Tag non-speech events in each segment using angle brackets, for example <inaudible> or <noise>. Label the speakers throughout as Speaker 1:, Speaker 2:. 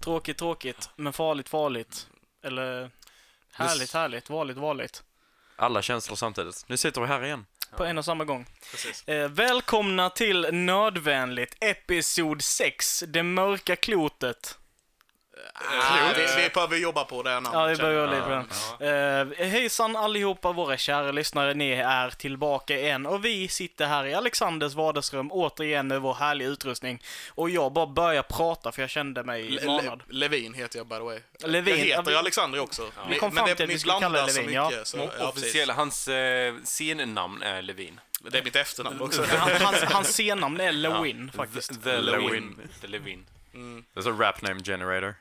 Speaker 1: Tråkigt, tråkigt, men farligt, farligt. Eller härligt, härligt, varligt, varligt.
Speaker 2: Alla känslor samtidigt. Nu sitter vi här igen.
Speaker 1: På en och samma gång.
Speaker 3: Precis.
Speaker 1: Eh, välkomna till Nödvändigt, episod 6, Det mörka klotet.
Speaker 3: Eh, vi, vi behöver jobba på det här namnet.
Speaker 1: Ja, vi
Speaker 3: känner
Speaker 1: börjar
Speaker 3: jag.
Speaker 1: lite på den. Eh, hejsan allihopa våra kära lyssnare, ni är tillbaka igen och vi sitter här i Alexanders vardagsrum återigen med vår härliga utrustning. Och jag bara börjar prata för jag kände mig
Speaker 3: Le- Le-
Speaker 1: manad.
Speaker 3: Levin heter jag by the way.
Speaker 1: Levin,
Speaker 3: jag
Speaker 1: ja,
Speaker 3: heter
Speaker 1: vi-
Speaker 3: Alexander också.
Speaker 1: vi kom fram till att vi skulle kalla det Levin, ja.
Speaker 3: så,
Speaker 2: Mo-
Speaker 3: ja, precis.
Speaker 2: officiella, hans eh, scennamn är Levin.
Speaker 3: Det är mitt efternamn också.
Speaker 2: Mm.
Speaker 3: <laughs>
Speaker 1: Han, hans, hans scennamn är Lewin faktiskt.
Speaker 2: The, the
Speaker 3: Lewin.
Speaker 2: Lewin. The Levin.
Speaker 3: Mm,
Speaker 2: There's a rap name generator.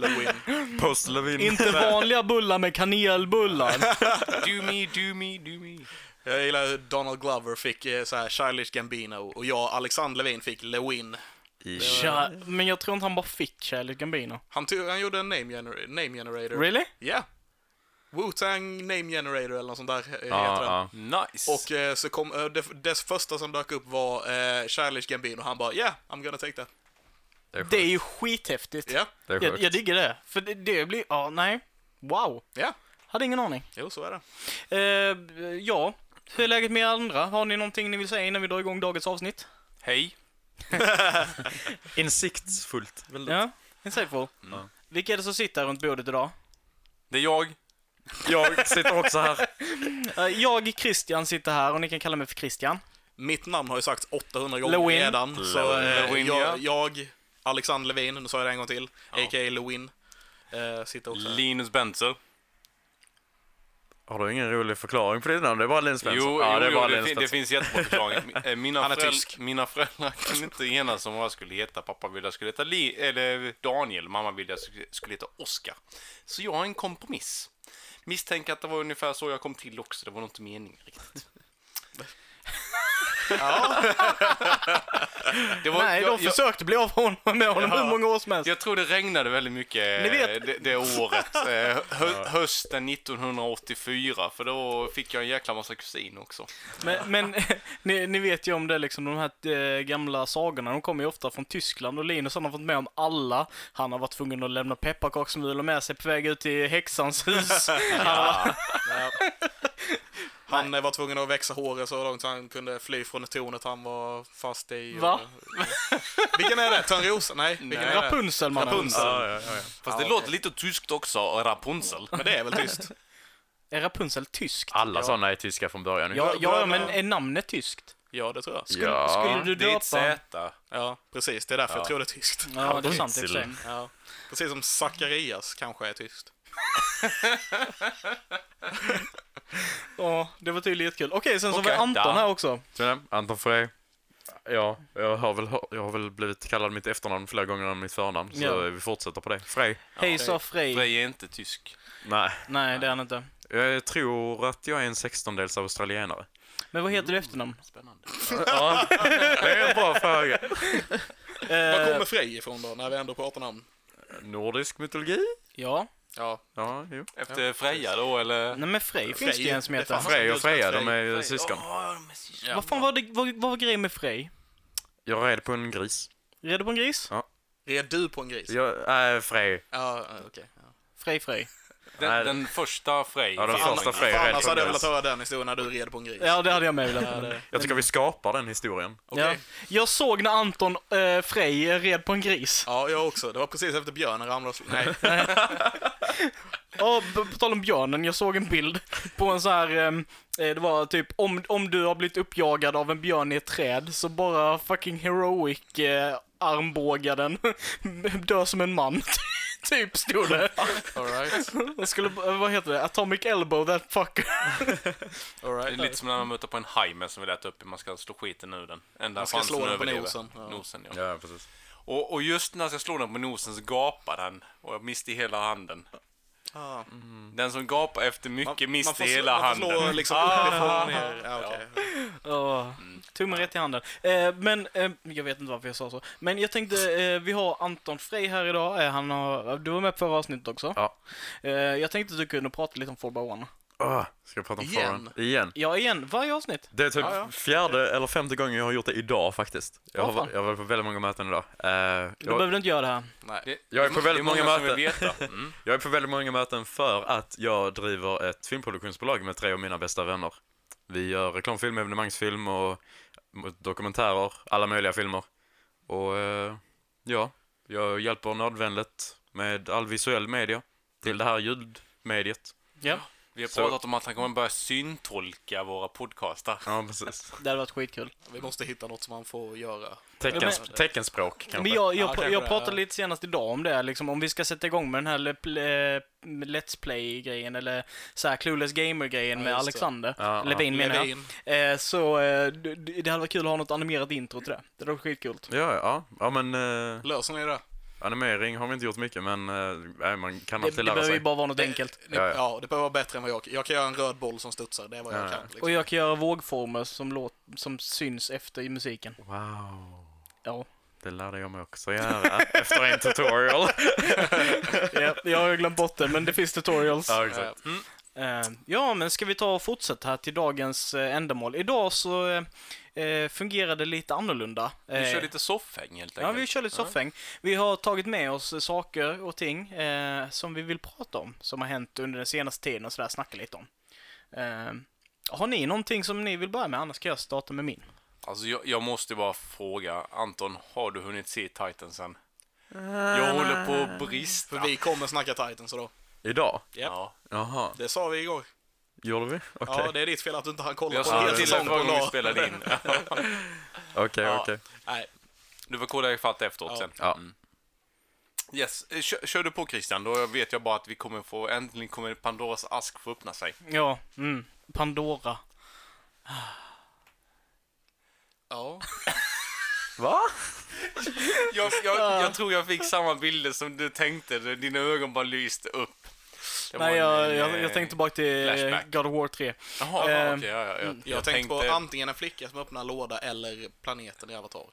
Speaker 3: Lewin.
Speaker 2: Post Levin.
Speaker 1: Inte vanliga bullar med kanelbullar.
Speaker 2: <laughs> do me, do me, do me.
Speaker 3: Jag gillar hur Donald Glover fick eh, så här Childish Gambino och jag, Alexander Levin, fick Lewin.
Speaker 1: Tja, men jag tror inte han bara fick Charlie Gambino.
Speaker 3: Han, tog, han gjorde en name, gener- name generator.
Speaker 1: Really?
Speaker 3: Yeah. Wu-Tang Name Generator eller något sånt där eh, heter
Speaker 2: Ja,
Speaker 3: den.
Speaker 2: ja. Nice.
Speaker 3: Och eh, så kom, eh, det, dess första som dök upp var eh, Childish Gambino. Han bara yeah, I'm gonna take that.
Speaker 2: det är sjukt.
Speaker 1: Det är ju skithäftigt.
Speaker 3: Ja,
Speaker 2: Det är
Speaker 1: Jag,
Speaker 2: sjukt.
Speaker 1: jag digger det. För det, det blir, ja, nej. Wow.
Speaker 3: ja.
Speaker 1: Hade ingen aning.
Speaker 3: Jo, så är det.
Speaker 1: Eh, ja, hur är läget med er andra? Har ni någonting ni vill säga innan vi drar igång dagens avsnitt?
Speaker 2: Hej.
Speaker 4: Insiktsfullt. Väldigt.
Speaker 1: Ja, insightful.
Speaker 2: Ja.
Speaker 1: Vilka är det som sitter runt bordet idag?
Speaker 2: Det är jag.
Speaker 4: Jag sitter också här.
Speaker 1: Eh, jag, Christian, sitter här och ni kan kalla mig för Christian.
Speaker 3: Mitt namn har ju sagts 800 gånger
Speaker 1: Lewin.
Speaker 3: redan. Så eh,
Speaker 2: Lewin, ja.
Speaker 3: jag, jag, Alexander Levin, nu sa jag det en gång till, a.k.a. Lewin, eh, sitter också här.
Speaker 2: Linus Bentzer.
Speaker 4: Har du ingen rolig förklaring på ditt namn? Det är bara Linus
Speaker 2: Jo,
Speaker 4: Svensson.
Speaker 2: jo,
Speaker 4: ja, det är
Speaker 2: jo,
Speaker 4: bara
Speaker 2: det,
Speaker 4: Linus
Speaker 2: fin, det
Speaker 4: Svensson.
Speaker 2: finns jättebra förklaring. Eh, Mina,
Speaker 3: Han är
Speaker 2: föräldrar-
Speaker 3: tysk.
Speaker 2: mina föräldrar kunde inte enas om vad jag skulle heta. Pappa ville jag skulle heta Li, eller Daniel, mamma ville jag skulle- skulle heta Oskar. Så jag har en kompromiss. Misstänker att det var ungefär så jag kom till också, det var nog inte meningen riktigt. det var,
Speaker 1: Nej,
Speaker 2: jag,
Speaker 1: de försökte bli av honom med honom hur många år som helst.
Speaker 2: jag, jag tror det regnade väldigt mycket
Speaker 1: Ni vet.
Speaker 2: eh, det, det året. eh, Hö, hösten 1984, för då fick jag en jäkla massa kusin också.
Speaker 1: Men, men <laughs> ni, ni vet ju om det liksom, de här eh, gamla sagorna, de kommer ju ofta från Tyskland och Linus han har fått med om alla. Han har varit tvungen att lämna pepparkaksmulor med sig på väg ut till häxans hus.
Speaker 3: Han eh, var tvungen att växa håret så långt så han kunde fly från tornet han var fast i. och-
Speaker 1: Va?
Speaker 3: Vilken är det? Törnrosa? Nej, vilken
Speaker 2: Nej.
Speaker 3: är det?
Speaker 1: Rapunzel mannen.
Speaker 3: Rapunzel.
Speaker 4: Ja, ja, ja, ja.
Speaker 2: Fast det låter lite tyskt också, Rapunzel.
Speaker 3: Men det är väl tyst?
Speaker 1: Är Rapunzel tyskt?
Speaker 4: Alla sådana är tyska från början.
Speaker 1: Ja, ja,
Speaker 3: bröderna-
Speaker 1: men är namnet tyskt?
Speaker 3: Ja, det tror jag.
Speaker 4: skulle, ja.
Speaker 1: skulle du-
Speaker 2: Det är ett
Speaker 1: döpa.
Speaker 2: Z.
Speaker 3: Ja, precis. Det är därför
Speaker 2: Ja.
Speaker 3: jag tror det är tyskt.
Speaker 1: Ja, det är sant i och för sig.
Speaker 4: Rapunzel.
Speaker 3: Ja. Precis som Zacharias kanske är tyskt.
Speaker 1: Ja, det var tydligen jättekul. Okej, sen så var
Speaker 2: Okej,
Speaker 1: Anton
Speaker 2: ja.
Speaker 1: här också.
Speaker 4: Så, nej, Anton Frey. Ja, jag har, väl, hör- jag har väl blivit kallad mitt efternamn flera gånger än mitt förnamn. Så
Speaker 1: Ja.
Speaker 4: vi fortsätter på det. Frey.
Speaker 1: Hej sa Frej.
Speaker 2: Frej är inte tysk.
Speaker 4: Nej,
Speaker 1: Nej, det är han inte.
Speaker 4: jag tror att jag är en sextondels australienare.
Speaker 1: Men vad heter du i efternamn?
Speaker 2: Spännande.
Speaker 4: <laughs> Ja, det är en bra fråga.
Speaker 3: Var
Speaker 1: Eh,
Speaker 3: kommer Frej ifrån då, när vi ändå pratar namn?
Speaker 4: Nordisk mytologi?
Speaker 1: ja,
Speaker 3: Ja,
Speaker 4: Ja, jo.
Speaker 2: Efter Freja då, eller?
Speaker 1: nej men Frej finns det
Speaker 3: Frej,
Speaker 1: ju en som
Speaker 3: det
Speaker 1: heter.
Speaker 3: fanns.
Speaker 4: Frey och Freja, de är ju
Speaker 2: Frej.
Speaker 4: syskon.
Speaker 2: Ja, de är syskon.
Speaker 1: Vad fan var, det, vad, vad var grejen med Frej?
Speaker 4: Jag red på en gris.
Speaker 1: Red på en gris?
Speaker 3: är du på en gris? Ja,
Speaker 4: Jag, äh, Frey.
Speaker 3: okej. Ja.
Speaker 1: Frej, Frej.
Speaker 2: Den, den första Frej.
Speaker 4: Ja, den
Speaker 2: Fan,
Speaker 4: första Frej
Speaker 3: Fan,
Speaker 4: red
Speaker 3: annars
Speaker 4: på en
Speaker 3: hade jag
Speaker 4: gris.
Speaker 3: velat höra den historien när du red på en gris.
Speaker 1: Ja, det hade jag med velat.
Speaker 4: Jag tycker vi skapar den historien.
Speaker 3: Okej.
Speaker 1: Ja. Jag såg när Anton eh, Frej eh, red på en gris.
Speaker 3: Ja, jag också. Det var precis efter björnen ramlade och slog. <laughs> Nej,
Speaker 1: Ja, på- på tal om björnen, jag såg en bild på en så här, ehm, eh, det var typ om, om du har blivit uppjagad av en björn i ett träd så bara fucking heroic eh, armbåga <laughs> den, dö som en man. <laughs> typ stod <laughs> det.
Speaker 3: alright.
Speaker 1: Jag skulle, eh, vad heter det? Atomic elbow that fucker.
Speaker 2: Det är
Speaker 3: Alright.
Speaker 2: lite som när man möter på en haj med som vill äta upp Man ska slå skiten ur den. Ända
Speaker 3: Man ska
Speaker 2: fansen
Speaker 3: slå den på
Speaker 2: överlever.
Speaker 3: nosen, ja.
Speaker 2: Nosen, ja.
Speaker 4: Ja, precis.
Speaker 2: Och, och just när jag ska slå den på nosen så gapar den. Och jag miste hela handen.
Speaker 3: Ah.
Speaker 4: Mm.
Speaker 2: Den som gapar efter mycket
Speaker 3: Man
Speaker 2: miste
Speaker 3: får, slå-
Speaker 2: hela
Speaker 3: man får
Speaker 2: handen.
Speaker 3: slå liksom uppifrån ner. Ja, okej.
Speaker 1: Oh,
Speaker 4: Mm.
Speaker 1: tummen rätt i handen. Eh, men, eh, jag vet inte varför jag sa så. Men jag tänkte, eh, vi har Anton Frey här idag. Eh, han har, du var med på förra avsnittet också.
Speaker 4: Ja.
Speaker 1: Eh, jag tänkte att du kunde prata lite om 4x1.
Speaker 4: Åh, Ah, ska jag prata om
Speaker 3: Igen?
Speaker 4: Foreign? Igen.
Speaker 1: Ja, igen. Varje avsnitt.
Speaker 4: Det är typ
Speaker 3: Ja, ja.
Speaker 4: fjärde eller femte gången jag har gjort det idag faktiskt. Jag
Speaker 1: Åh,
Speaker 4: har,
Speaker 1: fan.
Speaker 4: jag har varit på väldigt många möten idag. Eh,
Speaker 1: Du
Speaker 4: jag,
Speaker 1: behöver inte göra det här.
Speaker 3: Nej.
Speaker 2: Det,
Speaker 4: Jag är på
Speaker 2: det
Speaker 4: väldigt
Speaker 2: många,
Speaker 4: många
Speaker 2: som vill
Speaker 4: <laughs>
Speaker 2: veta. Mm.
Speaker 4: jag är på väldigt många möten för att jag driver ett filmproduktionsbolag med tre av mina bästa vänner. Vi gör reklamfilm, evenemangsfilm och dokumentärer, alla möjliga filmer. Och eh, ja, jag hjälper nödvändigt med all visuell media till det här ljudmediet.
Speaker 1: Ja,
Speaker 2: Vi har
Speaker 4: Så-
Speaker 2: pratat om att han kommer börja syntolka våra podcastar.
Speaker 4: Ja, precis.
Speaker 1: det hade varit skitkul.
Speaker 3: Vi måste hitta något som man får göra.
Speaker 4: Teckens, teckenspråk kanske.
Speaker 1: Men jag,
Speaker 3: Ja,
Speaker 1: jag,
Speaker 3: kanske
Speaker 1: jag
Speaker 3: det.
Speaker 1: pratade lite senast idag om det, liksom, om vi ska sätta igång med den här le- pl- eh, Let's Play-grejen, eller så här Clueless Gamer-grejen
Speaker 3: Ja,
Speaker 1: med
Speaker 3: just det.
Speaker 1: Alexander.
Speaker 4: Ja, ja.
Speaker 1: Levin menar jag.
Speaker 3: Levin.
Speaker 1: Eh, så eh, d- d- det hade varit kul att ha något animerat intro till det. Det hade varit skitcoolt.
Speaker 4: Ja, ja. ja men eh,
Speaker 3: Löser ni det?
Speaker 4: animering har vi inte gjort mycket men eh, nej, man kan
Speaker 1: Det,
Speaker 4: alltid
Speaker 1: det
Speaker 4: lära
Speaker 1: behöver ju
Speaker 4: sig.
Speaker 1: bara vara något enkelt.
Speaker 3: Ni,
Speaker 4: Ja,
Speaker 3: ja,
Speaker 4: ja.
Speaker 3: det behöver vara bättre än vad jag kan. Jag kan göra en röd boll som studsar, det är vad jag
Speaker 4: Ja.
Speaker 3: kan. Liksom.
Speaker 1: Och jag kan göra vågformer som, låt, som syns efter i musiken.
Speaker 4: Wow,
Speaker 1: <laughs> Ja.
Speaker 4: det lärde jag mig också göra <laughs> efter en tutorial.
Speaker 1: ja, jag har ju glömt bort det, men det finns tutorials.
Speaker 4: ja,
Speaker 3: Eh,
Speaker 4: exakt.
Speaker 1: Eh, Ja, men ska vi ta och fortsätta här till dagens eh, ändamål. Idag så eh, eh, fungerar det lite annorlunda.
Speaker 2: Vi kör
Speaker 1: Eh,
Speaker 2: lite soffhäng helt
Speaker 1: Ja,
Speaker 2: enkelt.
Speaker 1: vi kör lite soffhäng. Vi har tagit med oss eh, saker och ting eh, som vi vill prata om, som har hänt under den senaste tiden och sådär, snacka lite om. Eh, har ni någonting som ni vill börja med? Annars kan jag starta med min.
Speaker 2: Alltså, jag, jag måste bara fråga. Anton, har du hunnit se Titansen?
Speaker 1: Eh,
Speaker 2: Jag håller på att brista.
Speaker 3: För vi kommer snacka Titans då.
Speaker 4: Idag?
Speaker 2: Ja.
Speaker 4: Jaha,
Speaker 3: Det sa vi igår.
Speaker 4: gjorde vi? Okej,
Speaker 3: Ja, det är ditt fel att du inte hann kolla
Speaker 2: Jag
Speaker 3: på en
Speaker 2: sa
Speaker 3: hel
Speaker 2: det till dig
Speaker 3: säsong på
Speaker 2: förra
Speaker 3: en
Speaker 2: gången vi
Speaker 3: dag.
Speaker 2: spelade in.
Speaker 4: okej,
Speaker 2: Ja.
Speaker 4: okej.
Speaker 3: Nej,
Speaker 2: Du får kolla ifatt efteråt
Speaker 3: Ja.
Speaker 2: sen.
Speaker 4: Ja.
Speaker 2: Mm. Yes, Eh, kör, kör du på Christian, då vet jag bara att vi kommer få, äntligen kommer Pandoras ask få öppna sig.
Speaker 1: Ja, mm. Pandora.
Speaker 3: ja.
Speaker 4: Va?
Speaker 2: Jag, jag, jag tror jag fick samma bilder som du tänkte, dina ögon bara lyste upp. Det
Speaker 1: Nej,
Speaker 2: var en,
Speaker 1: jag, jag,
Speaker 2: eh,
Speaker 1: jag tänkte tillbaka till eh,
Speaker 2: flashback.
Speaker 1: God of War 3.
Speaker 2: Jaha,
Speaker 1: ehm,
Speaker 2: okej, ja, ja, jag,
Speaker 3: Jag, tänkte på antingen en flicka som öppnar en låda eller planeten i Avatar.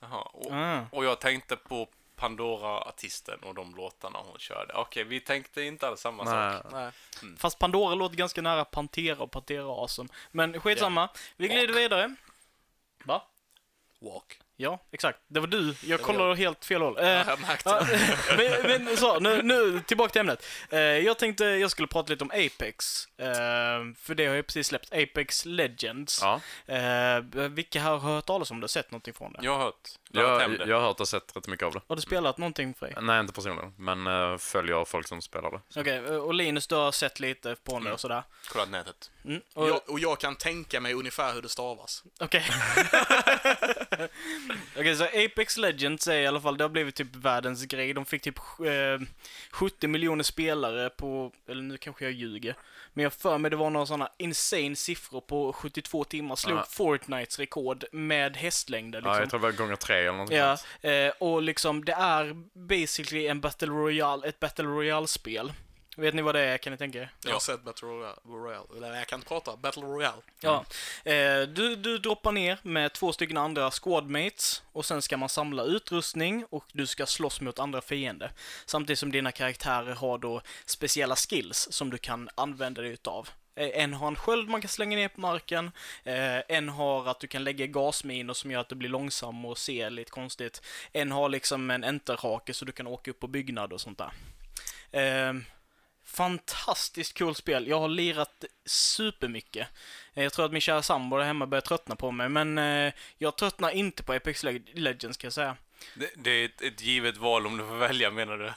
Speaker 2: jaha, och,
Speaker 1: Ah.
Speaker 2: och jag tänkte på Pandora-artisten och de låtarna hon körde. Okej, vi tänkte inte alls samma
Speaker 4: Nej.
Speaker 2: sak.
Speaker 3: Nej.
Speaker 1: Fast Pandora låter ganska nära Pantera och Pantera-asen. Men skitsamma, vi glider vidare. Va?
Speaker 3: Walk.
Speaker 1: Ja, exakt. Det var du. Jag
Speaker 3: var
Speaker 1: kollade åt helt fel håll. Eh, <laughs>
Speaker 3: jag märkte
Speaker 1: ja, men, men så, nu, nu tillbaka till ämnet. Eh, jag tänkte jag skulle prata lite om Apex. Eh, för det har ju precis släppt. Apex Legends.
Speaker 4: Ja,
Speaker 1: Eh, vilka här har hört talas om det? Sett någonting från det?
Speaker 2: Jag har hört. Jag har
Speaker 4: jag,
Speaker 2: hört
Speaker 4: jag har hört och sett rätt mycket av det.
Speaker 1: Har du spelat någonting Frej?
Speaker 4: Nej, inte personligen, men uh, följer folk som spelar det.
Speaker 1: Okej, eh, och Linus du har sett lite på det och sådär.
Speaker 2: Kollat nätet.
Speaker 1: Mm. Och,
Speaker 3: Jag, och jag kan tänka mig ungefär hur det stavas.
Speaker 1: Okej. <laughs> Okej, så Apex Legends är i alla fall, det har blivit typ världens grej. De fick typ eh, 70 miljoner spelare på, eller nu kanske jag ljuger, men jag för mig det var några sådana insane siffror på 72 timmar. Slog
Speaker 4: Ja.
Speaker 1: Fortnites rekord med hästlängder
Speaker 4: Ja,
Speaker 1: liksom.
Speaker 4: jag tror det var gånger tre eller något
Speaker 1: Ja,
Speaker 4: sånt.
Speaker 1: eh, och liksom det är basically en Battle Royale, ett Battle Royale-spel. Vet ni vad det är, kan ni tänka er?
Speaker 3: Jag har sett Battle Royale- Royale. Eller jag kan inte prata. Battle Royale.
Speaker 1: Ja. Eh, du, du droppar ner med två stycken andra squadmates och sen ska man samla utrustning och du ska slåss mot andra fiender. Samtidigt som dina karaktärer har då speciella skills som du kan använda dig utav. Eh, En har en sköld man kan slänga ner på marken, eh, en har att du kan lägga gasminor som gör att du blir långsam och ser lite konstigt. En har liksom en enterhake så du kan åka upp på byggnad och sånt där. Ehm, Fantastiskt kul spel. Jag har lirat supermycket. Eh, Jag tror att min kära sambo där hemma börjar tröttna på mig, men eh, jag tröttnar inte på Apex Leg- Legends kan jag säga.
Speaker 2: Det, det är ett, ett givet val om du får välja, menar du?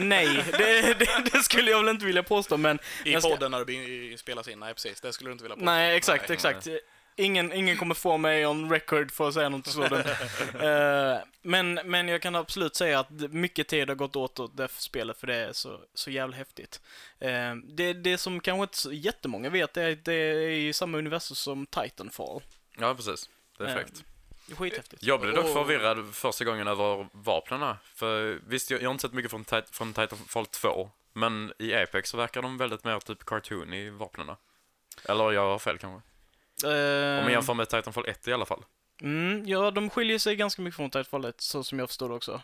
Speaker 1: Nej, det, det, det skulle jag väl inte vilja påstå, men...
Speaker 3: I
Speaker 1: jag ska-
Speaker 3: podden när det blir- spelas in. Nej, precis. Det skulle du inte vilja prata
Speaker 1: Nej, exakt,
Speaker 3: Nej.
Speaker 1: exakt. Ingen, ingen kommer få mig on record för att säga något
Speaker 4: <laughs>
Speaker 1: sådant. Eh, men, men jag kan absolut säga att mycket tid har gått åt åt det för spelet för det är så, så jävla häftigt. Eh, det, det som kanske inte så jättemånga vet är att det är i samma universum som Titanfall.
Speaker 4: Ja, precis. Det är
Speaker 1: Eh,
Speaker 4: fräckt.
Speaker 1: det är skithäftigt.
Speaker 4: Jag blev dock
Speaker 3: Och-
Speaker 4: förvirrad första gången över vapnena. För visst, jag, jag har inte sett mycket från, Tit- från Titanfall 2, men i Apex så verkar de väldigt mer typ cartoon i vapnena. Eller jag har fel kanske. Om
Speaker 1: Ehm,
Speaker 4: man jämför med Titanfall 1 i alla fall.
Speaker 1: mm, ja, de skiljer sig ganska mycket från Titanfall 1, så som jag förstår det också.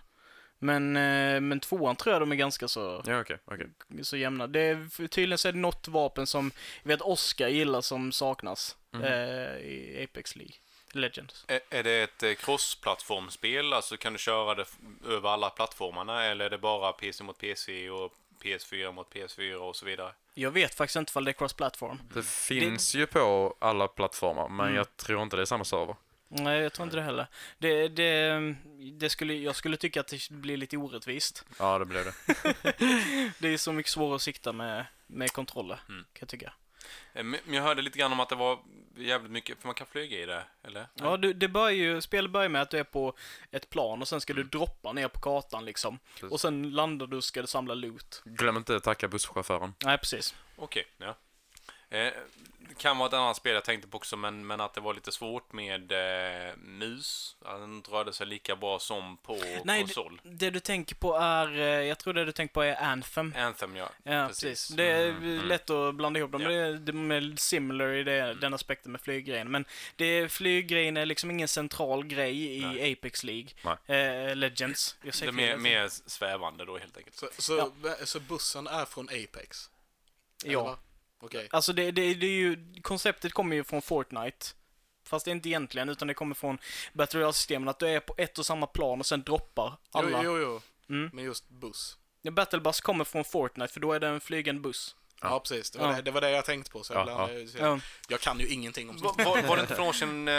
Speaker 1: Men, eh, men tvåan tror jag de är ganska så,
Speaker 4: Ja, okej. okej.
Speaker 1: så jämna. Det är, för tydligen så är det något vapen som, jag vet Oscar gillar som saknas eh, i Apex League. Legends.
Speaker 2: Är, är det ett eh, cross-plattformsspel? Alltså kan du köra det f- över alla plattformarna eller är det bara PC mot PC och PS4 mot PS4 och så vidare?
Speaker 1: Jag vet faktiskt inte ifall det är cross-platform.
Speaker 4: Det finns ju på alla plattformar, men jag tror inte det är samma server.
Speaker 1: Nej, jag tror inte det heller. Det, det, det skulle, jag skulle tycka att det blir lite <laughs> orättvist.
Speaker 4: Ja, det blev det.
Speaker 1: Det är så mycket svårare att sikta med, med kontroller, kan jag tycka.
Speaker 2: Eh, Men men jag hörde lite grann om att det var jävligt mycket, för man kan flyga i det, eller?
Speaker 1: Ja, du, det börjar ju, spelet börjar med att du är på ett plan och sen ska
Speaker 2: Mm.
Speaker 1: du droppa ner på kartan liksom.
Speaker 4: Precis.
Speaker 1: Och sen landar du och ska du samla loot.
Speaker 2: Mm.
Speaker 4: Glöm inte att tacka busschauffören.
Speaker 1: Nej, precis.
Speaker 2: Okej, ja. Eh, det kan vara ett annat spel jag tänkte på också, men, men att det var lite svårt med eh, mus. Att den inte rörde sig lika bra som på
Speaker 1: Nej,
Speaker 2: konsol.
Speaker 1: det, det du tänker på är, eh, jag tror det du tänker på är Anthem.
Speaker 2: Anthem, ja.
Speaker 1: Ja, precis. Det är lätt att blanda ihop dem.
Speaker 2: mm. Ja. Mm.
Speaker 1: Det är, de är similar i det, den aspekten med flyggrejen. Men det är, flyggrejen är liksom ingen central grej i Apex League. Eh, Legends. Jag
Speaker 2: Det
Speaker 1: säger fel
Speaker 2: är mer,
Speaker 1: hela
Speaker 2: mer svävande då helt enkelt.
Speaker 3: Så, så, så bussen är från Apex?
Speaker 1: tiden. Ja.
Speaker 3: Eller? Okej.
Speaker 1: Alltså det, det, det är ju, konceptet kommer ju från Fortnite. Fast det är inte egentligen, utan det kommer från Battle Royale-systemen, att du är på ett och samma plan och sen droppar alla.
Speaker 3: Jo, jo, jo.
Speaker 1: Mm.
Speaker 3: Men just buss.
Speaker 1: Ja, Battle Bus kommer från Fortnite, för då är det en flygande buss.
Speaker 3: Ja, precis. Det var,
Speaker 1: Ja.
Speaker 3: det, det var det jag tänkte på. Så
Speaker 4: Ja,
Speaker 3: jag, blandade- så jag,
Speaker 1: Ja.
Speaker 3: jag kan ju ingenting om sånt.
Speaker 2: Var, var, var <laughs> det inte för några år sedan eh,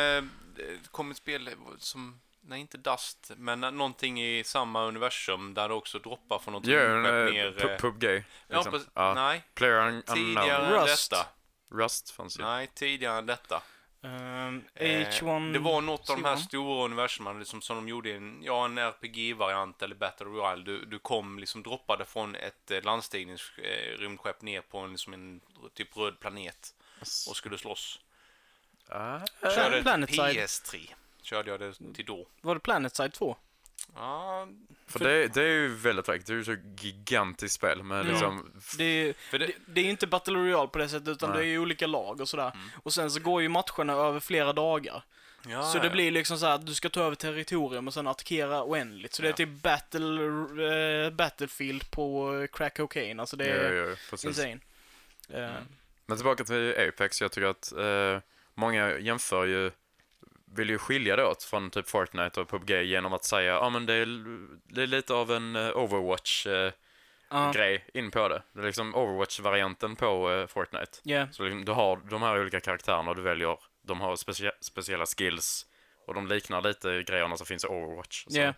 Speaker 2: det kom ett spel som, nej inte Dust, men någonting i samma universum där det också droppar från något
Speaker 4: Gör
Speaker 2: rymdskepp
Speaker 4: en
Speaker 2: ner. eh,
Speaker 4: eh, PubG.
Speaker 2: ja,
Speaker 4: liksom.
Speaker 2: precis.
Speaker 4: Ja.
Speaker 2: Nej,
Speaker 4: Player un-
Speaker 2: tidigare
Speaker 4: unknown.
Speaker 2: än
Speaker 1: Rust.
Speaker 2: detta.
Speaker 4: Rust fanns ju.
Speaker 2: Nej, tidigare än detta.
Speaker 1: Ehm,
Speaker 2: Eh,
Speaker 1: H1...
Speaker 2: Det var något av de här
Speaker 1: C1.
Speaker 2: stora universumen liksom, som de gjorde i en, ja, en RPG-variant eller Battle Royale. Du, du kom liksom droppade från ett eh, landstigningsrymdskepp ner på en, liksom en typ röd planet och skulle slåss.
Speaker 4: Ah.
Speaker 2: Körde till
Speaker 1: Eh, Planetside.
Speaker 2: PS3. Körde jag det till då.
Speaker 1: Var det Planetside 2?
Speaker 2: Ja,
Speaker 4: För det, det är ju väldigt fräckt. Det är ju så gigantiskt spel med liksom...
Speaker 1: Det är, ju-
Speaker 2: För det-
Speaker 1: det, det är ju inte Battle Royale på det sättet, utan
Speaker 4: Nej.
Speaker 1: det är ju olika lag och sådär.
Speaker 2: Mm.
Speaker 1: Och sen så går ju matcherna över flera dagar.
Speaker 4: Ah,
Speaker 1: Så det blir liksom så här att du ska ta över territorium och sen attackera oändligt. Så det är
Speaker 2: Ja.
Speaker 1: typ battle, eh, Battlefield på eh, crack cocaine. Alltså det
Speaker 4: Jo,
Speaker 1: är
Speaker 4: jo, jo, precis. Mm.
Speaker 1: insane. Eh,
Speaker 4: Men tillbaka till Apex, jag tycker att eh, många jämför ju, vill ju skilja det åt från typ Fortnite och PubG genom att säga, ja ah, men det är, l- det är lite av en eh, Overwatch-grej
Speaker 1: Ja,
Speaker 4: in på det. Det är liksom Overwatch-varianten på eh, Fortnite.
Speaker 1: ja.
Speaker 4: Så liksom, du har de här olika karaktärerna och du väljer, de har specia- speciella skills och de liknar lite grejerna som finns i Overwatch. Så.
Speaker 1: Ja.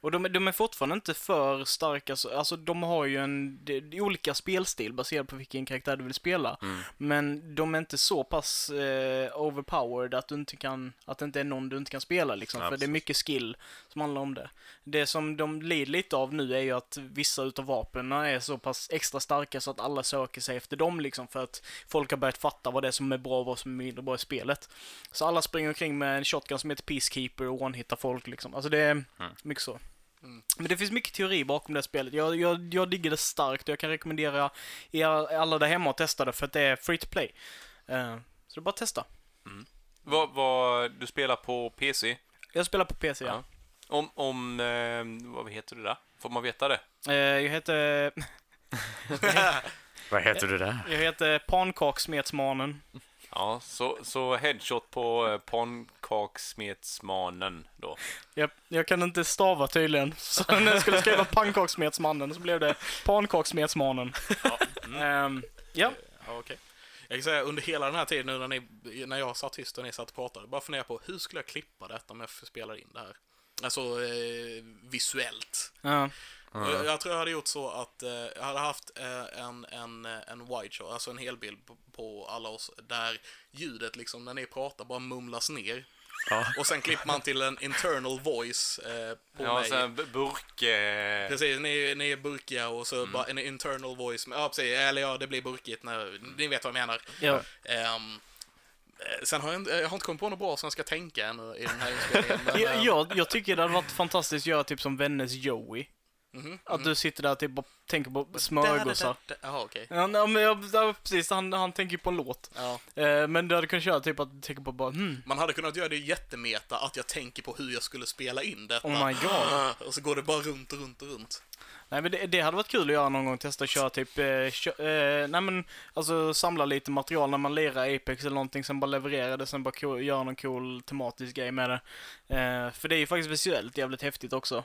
Speaker 1: Och de, är- de är fortfarande inte för starka, så- alltså de har ju en, det, det är olika spelstil baserad på vilken karaktär du vill spela. Men de är inte så pass eh, overpowered att, du inte kan, att det inte är någon du inte kan spela liksom.
Speaker 4: Ja,
Speaker 1: för det är
Speaker 4: precis.
Speaker 1: mycket skill som handlar om det. Det som de lider lite av nu är ju att vissa utav vapnen är så pass extra starka så att alla söker sig efter dem liksom. För att folk har börjat fatta vad det är som är bra och vad som är mindre bra i spelet. Så alla springer omkring med en shotgun som heter Peacekeeper och one-hittar folk liksom. Alltså det är mycket så. Men det finns mycket teori bakom det här spelet. Jag, jag, jag digger det starkt och jag kan rekommendera er alla där hemma att testa det för att det är free to play. Eh, så det är bara att testa.
Speaker 2: Vad, vad, du spelar på PC?
Speaker 1: Jag spelar på PC, ja.
Speaker 2: Om, om eh, vad heter det där? Får man veta det?
Speaker 1: Eh, jag heter... <laughs>
Speaker 4: Vad heter du där?
Speaker 1: Jag heter Pankaksmetsmanen.
Speaker 2: Ja, så, så headshot på eh, Pannkakssmetsmanen då.
Speaker 1: Jag, jag kan inte stava tydligen. <laughs> Så när jag skulle skriva Pankaksmetsmannen så blev det Pankaksmetsmanen. <laughs> Ehm, ja.
Speaker 3: Ja, okej. Jag kan säga under hela den här tiden nu när, ni, när jag satt tyst och ni satt och pratade, bara fundera på hur skulle jag klippa detta om jag spelar in det här? Alltså eh, visuellt.
Speaker 1: Ja.
Speaker 3: Jag, jag tror jag hade gjort så att eh, jag hade haft eh, en, en, eh, en wide shot, alltså en helbild på, på alla oss, där ljudet liksom när ni pratar bara mumlas ner.
Speaker 4: Ja.
Speaker 3: Och sen klipper man till en internal voice eh, på
Speaker 2: Ja,
Speaker 3: mig.
Speaker 2: så här bu- burk... Eh,
Speaker 3: Precis, ni, ni är burkiga och så bara en internal voice. Ja, precis. Eller ja, det blir burkigt när... Ni vet vad jag menar.
Speaker 1: Ja.
Speaker 3: Ehm, eh, sen har jag, inte- jag har inte kommit på något bra som jag ska tänka ännu i den här inspelningen. men,
Speaker 1: Jag,
Speaker 3: eh,
Speaker 1: jag, jag tycker det hade varit fantastiskt att göra typ som Vännäs Joey.
Speaker 3: <laughs> Mhm.
Speaker 1: Att du sitter där och typ bara tänker på smörgåsar.
Speaker 3: Da, da, da, da. Jaha, okej.
Speaker 1: Ja, nej, men jag, ja, precis, han, han tänker ju på en låt.
Speaker 3: Ja.
Speaker 1: Eh, men du hade kunnat köra typ att du tänker på bara hmm,
Speaker 3: Man hade kunnat göra det jättemeta, att jag tänker på hur jag skulle spela in detta.
Speaker 1: oh my god.
Speaker 3: <laughs> Och så går det bara runt och runt och runt.
Speaker 1: Nej men det, det hade varit kul att göra någon gång, testa att köra typ, eh, kö, eh, nej men alltså samla lite material när man lirar Apex eller någonting, sen bara leverera det, sen bara co- göra någon cool tematisk grej med det. Eh, för det är ju faktiskt visuellt jävligt häftigt också.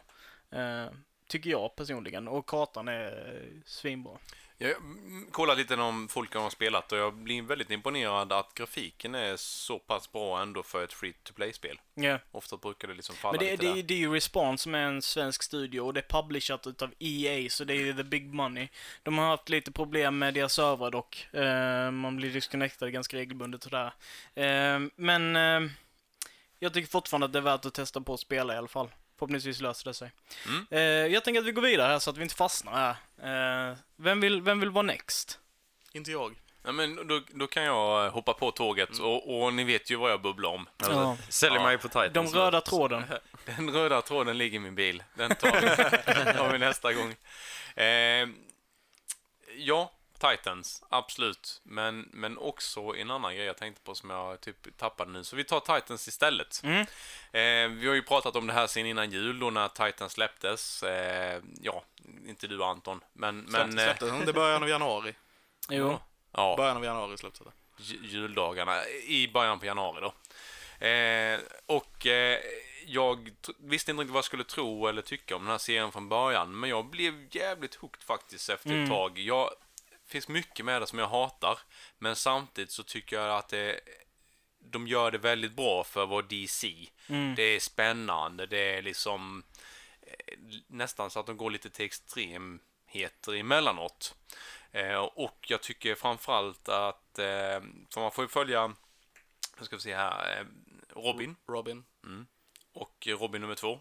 Speaker 1: Eh, tycker jag personligen, och kartan är eh, svinbra.
Speaker 2: Jag mm, kollar lite om folk har spelat och jag blir väldigt imponerad att grafiken är så pass bra ändå för ett free-to-play-spel.
Speaker 1: Ja.
Speaker 2: Ofta brukar det liksom falla
Speaker 1: Men det,
Speaker 2: lite
Speaker 1: det,
Speaker 2: där.
Speaker 1: det är ju Response som är en svensk studio och det är publishat utav EA, så det är ju the big money. De har haft lite problem med deras servrar dock. Eh, man blir disconnectad ganska regelbundet och där. Eh, men eh, jag tycker fortfarande att det är värt att testa på att spela i alla fall. Förhoppningsvis löser det sig.
Speaker 2: Mm.
Speaker 1: Eh, jag tänker att vi går vidare här så att vi inte fastnar här. Eh, vem, vill, vem vill vara next?
Speaker 3: Inte jag.
Speaker 2: Ja, men då, då kan jag eh, hoppa på tåget och, och ni vet ju vad jag bubblar om.
Speaker 1: Mm. Ja.
Speaker 4: Sälj
Speaker 2: Ja.
Speaker 4: mig på Titans.
Speaker 1: De röda tråden.
Speaker 2: Den röda tråden ligger i min bil. Den tar vi, den tar vi nästa gång. Eh, ja, Titans. Absolut. Men, men också en annan grej jag tänkte på som jag typ tappade nu. Så vi tar Titans istället.
Speaker 1: Mm.
Speaker 2: Eh, vi har ju pratat om det här sen innan jul då när Titans släpptes. Eh, ja, inte du Anton. Men... men eh,
Speaker 3: släppte det början
Speaker 2: <laughs>
Speaker 3: av januari.
Speaker 1: Jo.
Speaker 2: ja.
Speaker 3: Början av januari släpptes det.
Speaker 2: ju- juldagarna i början på januari då. Eh, och eh, jag tr- visste inte riktigt vad jag skulle tro eller tycka om den här serien från början, men jag blev jävligt hooked faktiskt efter ett tag. Jag det finns mycket med det som jag hatar, men samtidigt så tycker jag att det, de gör det väldigt bra för vad DC. Det är spännande, det är liksom eh, nästan så att de går lite till extremheter emellanåt. Eh, och jag tycker framförallt att, eh, för man får ju följa, nu ska vi se här, eh, Robin
Speaker 3: Robin.
Speaker 2: och Robin nummer två.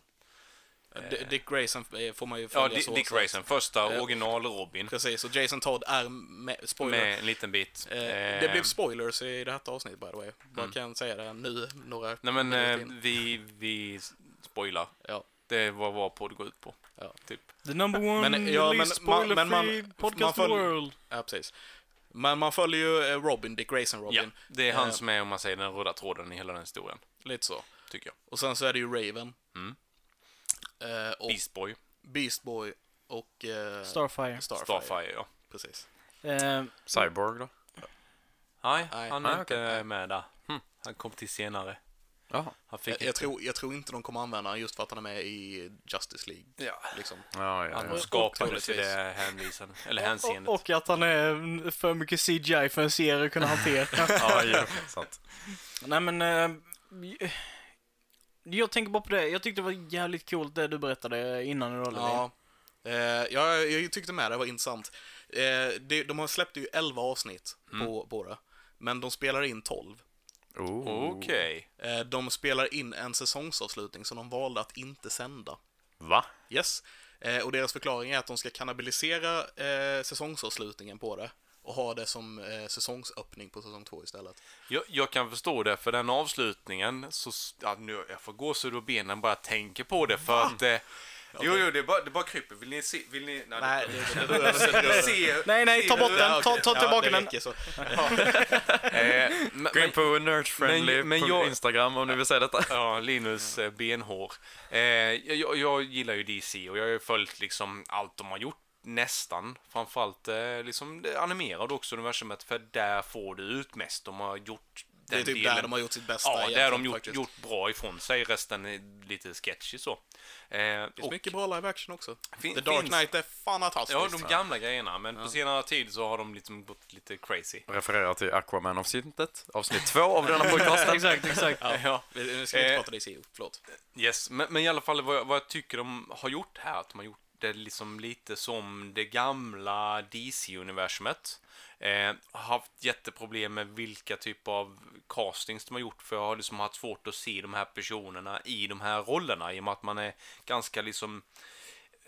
Speaker 3: D- Dick Grayson eh, får man ju
Speaker 2: Ja,
Speaker 3: följa
Speaker 2: Di-
Speaker 3: så.
Speaker 2: Dick
Speaker 3: så att- Eh,
Speaker 2: Grayson, första original-Robin
Speaker 3: Precis, och Jason Todd är med. Spoiler.
Speaker 2: med en liten bit.
Speaker 3: Eh,
Speaker 2: Eh, mm.
Speaker 3: det blev spoilers i det här avsnittet by the way. Bara kan säga det nu, några
Speaker 2: Nej men eh,
Speaker 3: minuter in.
Speaker 2: vi, vi spoilar.
Speaker 3: Ja.
Speaker 2: Det var vad podd går ut på.
Speaker 3: Ja.
Speaker 2: Typ.
Speaker 1: The number one
Speaker 3: Men, ja, men
Speaker 1: least
Speaker 3: man-
Speaker 1: spoiler-free
Speaker 3: men man-
Speaker 1: podcast
Speaker 3: man
Speaker 1: in the
Speaker 3: följer-
Speaker 1: world.
Speaker 3: ja, precis. Men man följer ju eh, Robin, Dick Grayson Robin.
Speaker 2: Ja, det är han
Speaker 3: Eh,
Speaker 2: som är, om man säger, den röda tråden i hela den historien,
Speaker 3: Lite så.
Speaker 2: tycker jag.
Speaker 3: Och sen så är det ju Raven.
Speaker 2: Mm.
Speaker 3: Eh, och Beast.
Speaker 2: Beast Boy,
Speaker 3: Boy och eh,
Speaker 1: Starfire.
Speaker 3: Starfire.
Speaker 2: Starfire, ja.
Speaker 3: Precis.
Speaker 1: Eh,
Speaker 4: Cyborg då?
Speaker 2: Nej,
Speaker 3: Nej.
Speaker 2: han är
Speaker 4: Nej,
Speaker 2: inte
Speaker 4: okej.
Speaker 2: med där. Hm, Han kom till senare.
Speaker 4: Jaha.
Speaker 2: Han fick
Speaker 3: Jag, jag, tror, jag tror inte de kommer använda honom just för att han är med i Justice League.
Speaker 2: Ja.
Speaker 3: Liksom.
Speaker 4: Ja, ja,
Speaker 2: Han
Speaker 4: ja.
Speaker 2: skapades i
Speaker 3: Otroligtvis.
Speaker 2: det hänvisan, eller hänseendet.
Speaker 1: Och, och att han är för mycket CGI för en serie att kunna
Speaker 3: <laughs>
Speaker 1: hantera.
Speaker 4: ja, ja.
Speaker 1: <laughs>
Speaker 4: Sant.
Speaker 1: Nej men... eh, j- jag tänker bara på det, jag tyckte det var jävligt coolt det du berättade innan idag Levin.
Speaker 3: Ja. Eh, ja, jag tyckte med det var intressant. Eh, det, de har släppt ju 11 avsnitt
Speaker 2: Mm.
Speaker 3: på, på det, men de spelar in 12.
Speaker 4: Oh.
Speaker 2: Okej.
Speaker 3: Eh, de spelar in en säsongsavslutning som de valde att inte sända.
Speaker 4: Va?
Speaker 3: Yes. Eh, och deras förklaring är att de ska kannibalisera eh, säsongsavslutningen på det och ha det som eh, säsongsöppning på säsong två istället.
Speaker 2: Jag, jag kan förstå det, för den avslutningen så... s- Ja, nu, jag får gåshud ur benen bara jag tänker på det, för att... Eh, Jo, jo, det bara, det bara kryper. Vill ni se? Vill ni, nej,
Speaker 3: Nej, det, det,
Speaker 2: det, se,
Speaker 1: Nej, nej, ta
Speaker 2: se-
Speaker 1: bort den! Ta, ta tillbaka
Speaker 3: ja, det
Speaker 1: den!
Speaker 3: räcker så.
Speaker 2: Eh, men-
Speaker 4: Gå in på nerdfriendly
Speaker 2: men- men
Speaker 4: på
Speaker 2: jag-
Speaker 4: Instagram om ni vill säga detta.
Speaker 2: Ja, Linus eh, benhår. Eh, jag, jag- jag gillar ju DC och jag har ju följt liksom allt de har gjort nästan. Framförallt eh, liksom det animerade också universumet för där får du ut mest. De har gjort
Speaker 3: det är
Speaker 2: den
Speaker 3: typ där de har gjort sitt bästa.
Speaker 2: Ja, där har de
Speaker 3: egentligen,
Speaker 2: gjort,
Speaker 3: faktiskt.
Speaker 2: gjort bra ifrån sig. Resten är lite sketchy så. Eh,
Speaker 3: Det finns
Speaker 2: och-
Speaker 3: mycket bra live action också.
Speaker 2: Fin-
Speaker 3: The Dark
Speaker 2: finns-
Speaker 3: Knight är fantastiskt.
Speaker 2: Ja, de gamla grejerna, men på senare tid så har de liksom gått lite crazy.
Speaker 4: Refererar till Aquaman-avsnittet, avsnitt två av <laughs> denna podcasten.
Speaker 1: Exakt, exakt.
Speaker 2: Ja.
Speaker 3: Vi- Nu ska vi inte
Speaker 2: Eh.
Speaker 3: prata DC, förlåt.
Speaker 2: Yes, men, men i alla fall vad jag, vad jag tycker de har gjort här, att de har gjort det liksom lite som det gamla DC-universumet. Eh, har haft jätteproblem med vilka typ av castings de har gjort, för jag har liksom haft svårt att se de här personerna i de här rollerna, i och med att man är ganska liksom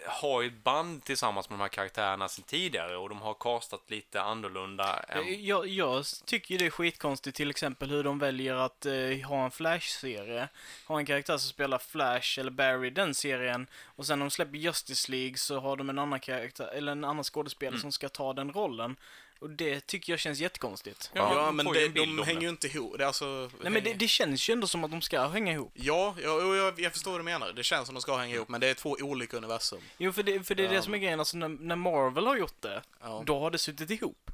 Speaker 2: har ju ett band tillsammans med de här karaktärerna sen tidigare och de har castat lite annorlunda. Än...
Speaker 1: Jag, jag tycker ju det är skitkonstigt till exempel hur de väljer att eh, ha en Flash-serie. Ha en karaktär som spelar Flash eller Barry i den serien och sen när de släpper Justice League så har de en annan karaktär, eller en annan skådespelare
Speaker 3: Mm.
Speaker 1: som ska ta den rollen. Och det tycker jag känns jättekonstigt.
Speaker 2: Ja,
Speaker 3: Ja,
Speaker 2: de
Speaker 3: men
Speaker 2: får ju
Speaker 3: det,
Speaker 2: en bild
Speaker 3: de
Speaker 2: om
Speaker 3: hänger
Speaker 2: det.
Speaker 3: ju inte ihop. Det är alltså...
Speaker 1: Nej men det, det känns ju ändå som att de ska hänga ihop.
Speaker 3: Ja, jag, jag, jag förstår vad du menar. Det känns som de ska hänga ihop, men det är två olika universum.
Speaker 1: Jo för det, för det är det som är grejen, alltså när, när Marvel har gjort det,
Speaker 3: Ja. Mm.
Speaker 1: då har det suttit ihop.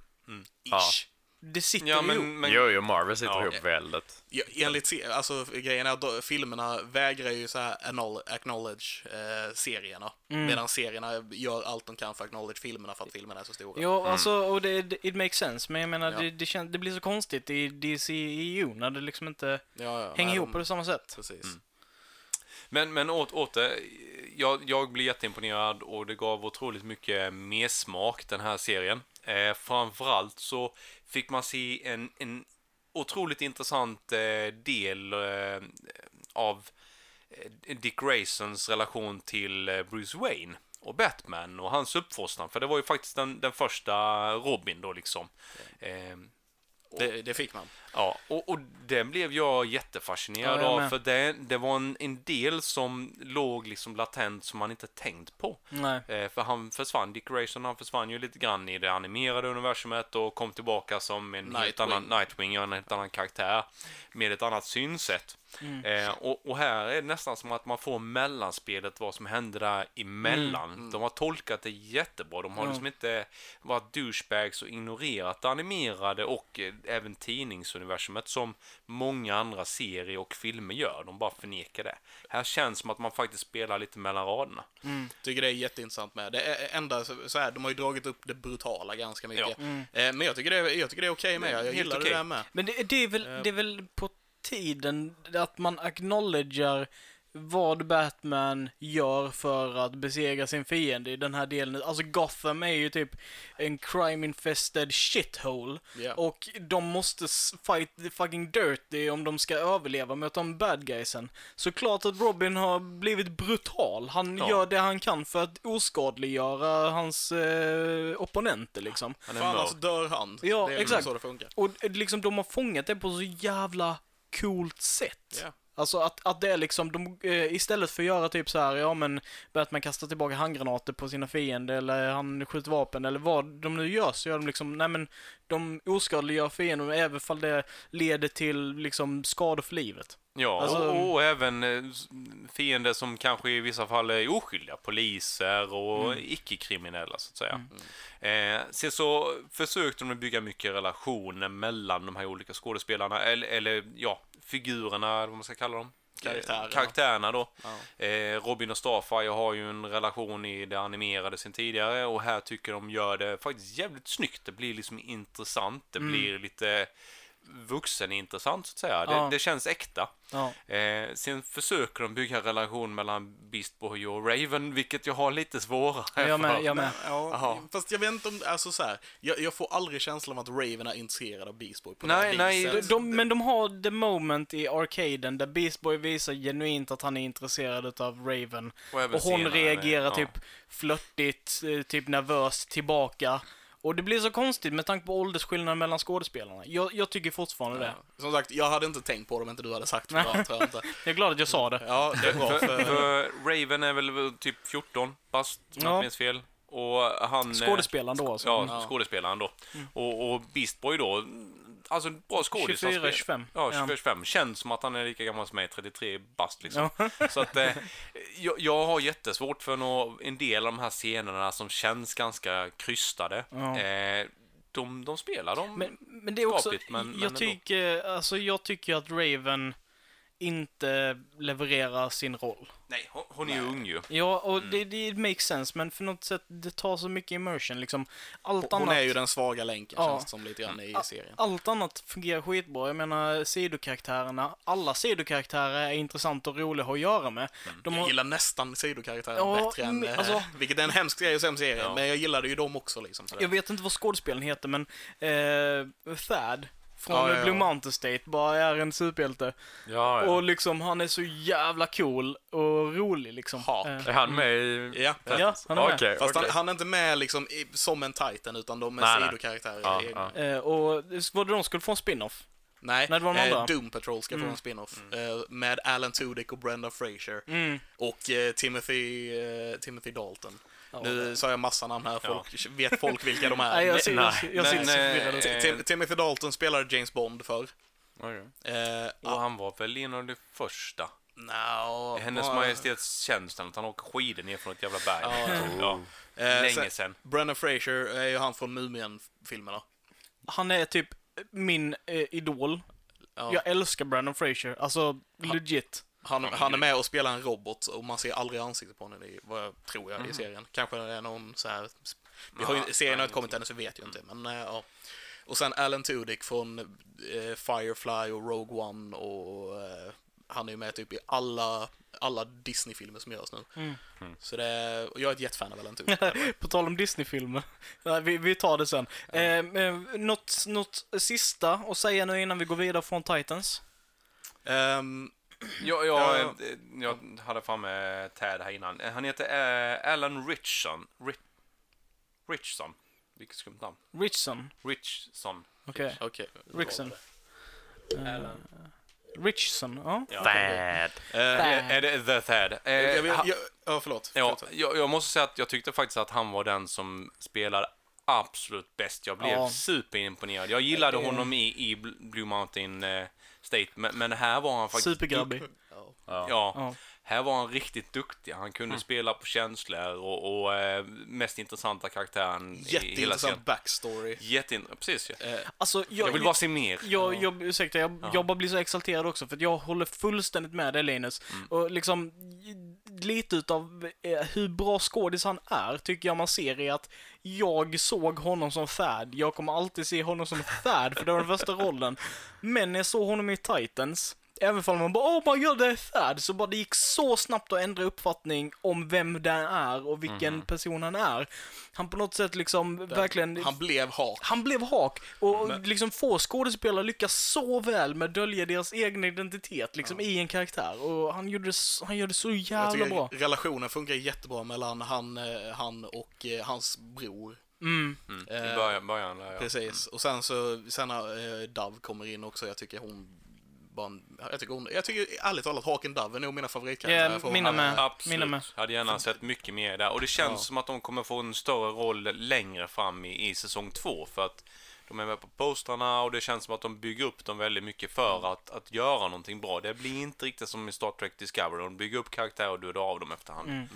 Speaker 4: Ja.
Speaker 3: Ish.
Speaker 1: Det sitter
Speaker 2: Ja,
Speaker 1: ihop.
Speaker 2: men, men
Speaker 4: Jo, jo, Marvel sitter
Speaker 2: Ja.
Speaker 4: ihop väldigt.
Speaker 3: Ja, enligt se- alltså grejen är att då- filmerna vägrar ju så här acknowl- acknowledge eh, serierna. Medan serierna gör allt de kan för att acknowledge filmerna för att filmerna är så stora.
Speaker 1: Ja, alltså, och det, det- it makes sense, men jag menar,
Speaker 3: Mm. Ja.
Speaker 1: det, det, kän, det blir så konstigt i DCEU när det liksom inte
Speaker 3: Ja, ja,
Speaker 1: hänger
Speaker 3: nej,
Speaker 1: ihop
Speaker 3: de-
Speaker 1: på det samma sätt.
Speaker 3: Precis.
Speaker 2: Mm. Men, men åt, åter, jag, jag blev jätteimponerad och det gav otroligt mycket mer smak den här serien. Eh, framförallt så fick man se en, en otroligt intressant eh, del eh, av eh, Dick Graysons relation till eh, Bruce Wayne och Batman och hans uppfostran. För det var ju faktiskt den, den första Robin då liksom. Eh,
Speaker 3: Det, det fick man.
Speaker 2: Ja, och, och den blev jag jättefascinerad
Speaker 1: Ja, jag
Speaker 2: av,
Speaker 1: med.
Speaker 2: för det, det var en, en del som låg liksom latent som man inte tänkt på.
Speaker 1: Nej.
Speaker 2: Eh, för han försvann, Dick Grayson, han försvann ju lite grann i det animerade universumet och kom tillbaka som en helt
Speaker 3: Nightwing.
Speaker 2: annan Nightwing, ja, en helt annan karaktär med ett annat synsätt. Eh, och, och här är det nästan som att man får mellanspelet, vad som hände där emellan. De har tolkat det jättebra. De har liksom inte varit douchebags och ignorerat det animerade och eh, även tidningsuniversumet som många andra serier och filmer gör. De bara förnekar det. Här känns som att man faktiskt spelar lite mellan raderna.
Speaker 3: Tycker det är jätteintressant med. Det är enda, så så här, de har ju dragit upp det brutala ganska mycket.
Speaker 2: Ja.
Speaker 3: Eh, men jag tycker det, är- jag tycker det är okej med. Jag
Speaker 2: Helt
Speaker 3: gillar
Speaker 2: okej.
Speaker 3: det där med.
Speaker 1: Men det, det, är väl, det är väl på tiden att man acknowledgar vad Batman gör för att besegra sin fiende i den här delen. Alltså Gotham är ju typ en crime-infested shithole.
Speaker 3: Ja.
Speaker 1: Och de måste s- fight the fucking dirty om de ska överleva mot de bad guysen. Så klart att Robin har blivit brutal. Han
Speaker 2: Ja.
Speaker 1: gör det han kan för att oskadliggöra hans eh, opponenter liksom.
Speaker 2: Han är
Speaker 3: För annars
Speaker 2: mörk.
Speaker 3: alltså, dör han.
Speaker 1: Ja,
Speaker 3: det är liksom
Speaker 1: exakt.
Speaker 3: så det funkar.
Speaker 1: Och eh, liksom de har fångat det på så jävla coolt sätt.
Speaker 3: Ja.
Speaker 1: Alltså att, att det är liksom, de, eh, istället för att göra typ så här, ja men Batman kastar tillbaka handgranater på sina fiender eller han skjuter vapen eller vad de nu gör så gör de liksom, nej men de oskadliggör fienden även fall det leder till liksom skador för livet.
Speaker 2: Ja,
Speaker 1: Alltså-
Speaker 2: och, och även eh, s- fiender som kanske i vissa fall är oskyldiga. Poliser och
Speaker 1: Mm.
Speaker 2: icke-kriminella, så att säga. Eh, sen så försökte de bygga mycket relationer mellan de här olika skådespelarna, eller, eller ja, figurerna, eller vad man ska kalla dem.
Speaker 3: Karaktärerna.
Speaker 2: Eh, Karaktärerna då. Eh, Robin och Starfire har ju en relation i det animerade sen tidigare och här tycker de gör det faktiskt jävligt snyggt. Det blir liksom intressant. Det
Speaker 1: Mm.
Speaker 2: blir lite vuxenintressant så att säga.
Speaker 1: Ja.
Speaker 2: Det, det känns äkta.
Speaker 1: Ja.
Speaker 2: Eh, sen försöker de bygga en relation mellan Beast Boy och Raven, vilket jag har lite svårare
Speaker 1: Jag
Speaker 2: för.
Speaker 1: med, jag med.
Speaker 3: Ja,
Speaker 2: Aha.
Speaker 3: fast jag vet inte om, alltså så här, jag, jag får aldrig känslan av att Raven är intresserad av Beast Boy på
Speaker 2: Nej,
Speaker 3: det här
Speaker 2: nej,
Speaker 1: De,
Speaker 3: viset.
Speaker 1: de, men de har the moment i arcaden där Beast Boy visar genuint att han är intresserad utav Raven.
Speaker 2: Och även
Speaker 1: Och hon
Speaker 2: senare,
Speaker 1: reagerar
Speaker 2: ja.
Speaker 1: typ flörtigt, eh, typ nervöst tillbaka. Och det blir så konstigt med tanke på åldersskillnaden mellan skådespelarna. Jag, jag tycker fortfarande det.
Speaker 3: Som sagt, jag hade inte tänkt på det om inte du hade sagt det. Bra, tror jag inte.
Speaker 1: Jag är glad att jag sa det.
Speaker 3: Ja, det är bra.
Speaker 2: För,
Speaker 3: För,
Speaker 2: för Raven är väl typ 14 bast, om jag
Speaker 1: Ja.
Speaker 2: inte minns fel. Och han... eh,
Speaker 1: Skådespelaren då alltså.
Speaker 2: Ja,
Speaker 1: Mm.
Speaker 2: skådespelaren då. Och, och Beast Boy då, alltså bra skådis.
Speaker 1: 24,
Speaker 2: han spelar.
Speaker 1: 25.
Speaker 2: Ja,
Speaker 1: Ja.
Speaker 2: 24, 25. Känns som att han är lika gammal som mig, 33 bast liksom. Så att eh, jag, jag har jättesvårt för nå, en del av de här scenerna som känns ganska krystade. Eh, de, de spelar de
Speaker 1: Men, men det är också,
Speaker 2: skapligt, men- men
Speaker 1: jag,
Speaker 2: ändå.
Speaker 1: tycker, alltså, jag tycker att Raven inte levererar sin roll.
Speaker 2: Nej, hon, hon är ju ung ju.
Speaker 1: Ja, och
Speaker 3: Mm.
Speaker 1: det, det makes sense, men för något sätt, det tar så mycket immersion liksom. Allt
Speaker 3: hon
Speaker 1: annat...
Speaker 3: är ju den svaga länken,
Speaker 1: Ja.
Speaker 3: känns det som lite grann i serien.
Speaker 1: Allt annat fungerar skitbra. Jag menar sidokaraktärerna. Alla sidokaraktärer är intressanta och roliga att ha att göra med. De
Speaker 3: Mm. Jag
Speaker 1: har...
Speaker 3: gillar nästan sidokaraktären
Speaker 1: Ja,
Speaker 3: bättre än...
Speaker 1: men,
Speaker 3: eh,
Speaker 1: alltså-
Speaker 3: vilket är en hemsk serie, sämst serie, men jag gillade ju dem också liksom. Så det-
Speaker 1: Jag vet inte vad skådespelaren heter, men eh, Thad från
Speaker 3: Ja, ja, ja.
Speaker 1: Blue Mountain State bara är en superhjälte.
Speaker 4: Ja, ja.
Speaker 1: Och liksom han är så jävla cool och rolig liksom.
Speaker 3: Hak.
Speaker 1: Eh,
Speaker 4: Är han med i...
Speaker 3: Ja,
Speaker 1: Ja, han är med.
Speaker 4: Okej, okej.
Speaker 3: Fast han, han är inte med liksom i, som en titan, utan de är
Speaker 4: Nej, nej.
Speaker 3: sidokaraktärer.
Speaker 4: Ja,
Speaker 3: egna.
Speaker 4: ja.
Speaker 1: Eh, och var det de skulle få en spin-off?
Speaker 3: Nej, eh,
Speaker 1: Nej, det var Mm. de andra.
Speaker 3: Doom Patrol ska få en spin-off
Speaker 4: Mm.
Speaker 3: eh, med Alan Tudyk och Brenda Fraser
Speaker 1: Mm.
Speaker 3: och eh, Timothy, eh, Timothy Dalton. nu sa jag massa namn här, folk, vet folk
Speaker 1: <laughs>
Speaker 3: vilka de är?
Speaker 1: Nej, jag ser, jag, ser- jag ser
Speaker 2: men,
Speaker 1: inte så förvirrad
Speaker 2: eh,
Speaker 1: ut.
Speaker 3: Ti- Tim- Timothy Dalton spelade James Bond förr.
Speaker 4: Okej.
Speaker 3: Eh,
Speaker 2: Och han var väl en av de första.
Speaker 3: no,
Speaker 2: Hennes Majestäts tjänsten att han åker skidor ner från ett jävla berg. Ja.
Speaker 3: Eh,
Speaker 2: Länge sen.
Speaker 3: Brendan Fraser är ju han från Mumien-filmerna.
Speaker 1: Han är typ min eh, idol.
Speaker 3: Ja.
Speaker 1: Jag älskar Brandon Fraser. Alltså, legit.
Speaker 3: Han, han är med och spelar en robot och man ser aldrig ansiktet på henne, i, vad jag tror jag, i serien. Kanske det är någon så här... Vi har ju, serien har inte kommit ännu så vi vet ju inte, men eh, ja. Och sen Alan Tudyk från eh, Firefly och Rogue One och eh, han är ju med typ i alla, alla Disney-filmer som görs nu. Så det är, och jag är ett jättefan av Alan Tudyk.
Speaker 1: På tal om Disney-filmer. <laughs> Nej, vi, vi tar det sen. Eh, eh, något, något sista att säga nu innan vi går vidare från Titans?
Speaker 3: Ehm,
Speaker 2: Jag, jag,
Speaker 3: Ja.
Speaker 2: eh, jag hade framme eh, Tad här innan. Eh, Han heter eh, Alan Richson. Ri- Richson. Vilket skumt namn.
Speaker 1: Richson.
Speaker 2: Richson.
Speaker 1: Okej.
Speaker 3: Okej.
Speaker 1: Richson. Eh, Richson, ja.
Speaker 4: Bad.
Speaker 3: Eh,
Speaker 2: Eh, Är det The Tad? Eh,
Speaker 3: jag, vill-
Speaker 2: han-
Speaker 3: jag, ja, förlåt.
Speaker 2: Ja,
Speaker 3: Fortsätt.
Speaker 2: jag, jag måste säga att jag tyckte faktiskt att han var den som spelar absolut bäst. Jag blev
Speaker 1: Ja.
Speaker 2: superimponerad. Jag gillade honom i, i Bl- Blue Mountain eh, State, men, men här var han faktiskt...
Speaker 1: Supergrabbig.
Speaker 3: Ja.
Speaker 2: Ja.
Speaker 1: Ja.
Speaker 2: Här var han riktigt duktig. Han kunde spela på känslor och, och eh, mest intressanta karaktären i hela
Speaker 3: Jätteintressant
Speaker 2: serien.
Speaker 3: backstory. Eh,
Speaker 2: Jätteintressant. Precis ja.
Speaker 1: Alltså, jag,
Speaker 2: Jag vill bara se mer.
Speaker 1: Jag, jag, ursäkta, jag, jag bara blir så exalterad också för att jag håller fullständigt med dig Linus. Och liksom lite utav eh, hur bra skådis han är tycker jag man ser i att jag såg honom som Thad. Jag kommer alltid se honom som Thad för det var den första rollen. Men när jag såg honom i Titans, även om man bara oh my god det är Thad, så bara det gick så snabbt att ändra uppfattning om vem den är och vilken person han är. Han på något sätt liksom verkligen
Speaker 3: Han blev hak.
Speaker 1: han blev hak och och liksom få skådespelare lyckas så väl med att dölja deras egen identitet liksom i en karaktär och han gjorde det, s- han gjorde det så
Speaker 3: Jag
Speaker 1: jävla
Speaker 3: tycker
Speaker 1: bra.
Speaker 3: relationen funkar jättebra mellan han, eh, han och eh, hans bror.
Speaker 2: I början, början där, ja.
Speaker 3: Precis. Och sen så, sen när eh, Dove kommer in också, jag tycker hon bara, en- jag tycker hon, jag tycker ärligt talat Haken Dove är nog mina favoritkaraktärer.
Speaker 1: Ja,
Speaker 3: för hon
Speaker 1: mina
Speaker 3: är-
Speaker 1: med. Mina
Speaker 2: Absolut.
Speaker 1: med.
Speaker 2: Hade gärna sett mycket mer där. Och det känns som att de kommer få en större roll längre fram i, i säsong två. För att de är med på postrarna och det känns som att de bygger upp dem väldigt mycket
Speaker 1: Mm.
Speaker 2: för att, att göra någonting bra. Det blir inte riktigt som i Star Trek Discovery. De bygger upp karaktärer och dödar av dem efterhand.
Speaker 1: Mm.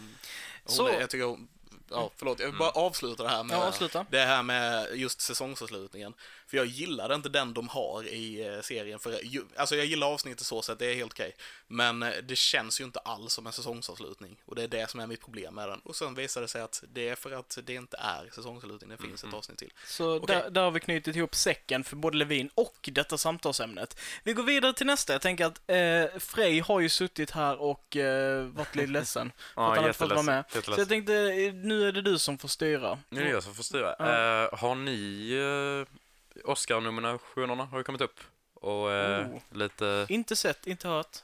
Speaker 3: Hon
Speaker 1: Så-
Speaker 3: är, jag tycker hon, Ja, förlåt. Jag vill bara
Speaker 4: Mm.
Speaker 3: avsluta det här med
Speaker 1: Ja, avsluta.
Speaker 3: det här med just säsongsavslutningen. För jag gillade inte den de har i eh, serien. För, ju- alltså jag gillar avsnittet så sett, det är helt okej. Men eh, det känns ju inte alls som en säsongsavslutning. Och det är det som är mitt problem med den. Och sen visar det sig att det är för att det inte är säsongsavslutning, det finns ett avsnitt till.
Speaker 1: Så
Speaker 3: Okej.
Speaker 1: där, där har vi knutit ihop säcken för både Levin och detta samtalsämnet. Vi går vidare till nästa. Jag tänker att eh, Frej har ju suttit här och eh, varit lite ledsen. för
Speaker 4: Ja,
Speaker 1: att han inte fått vara
Speaker 4: jätteledsen,
Speaker 1: med. Så jag
Speaker 4: jätteledsen.
Speaker 1: tänkte, eh, nu är det du som får styra.
Speaker 4: Nu är det jag som får styra. Eh, har ni eh, Oscar-nominationerna har ju kommit upp? Och eh,
Speaker 1: Oh.
Speaker 4: lite...
Speaker 1: Inte sett, inte hört.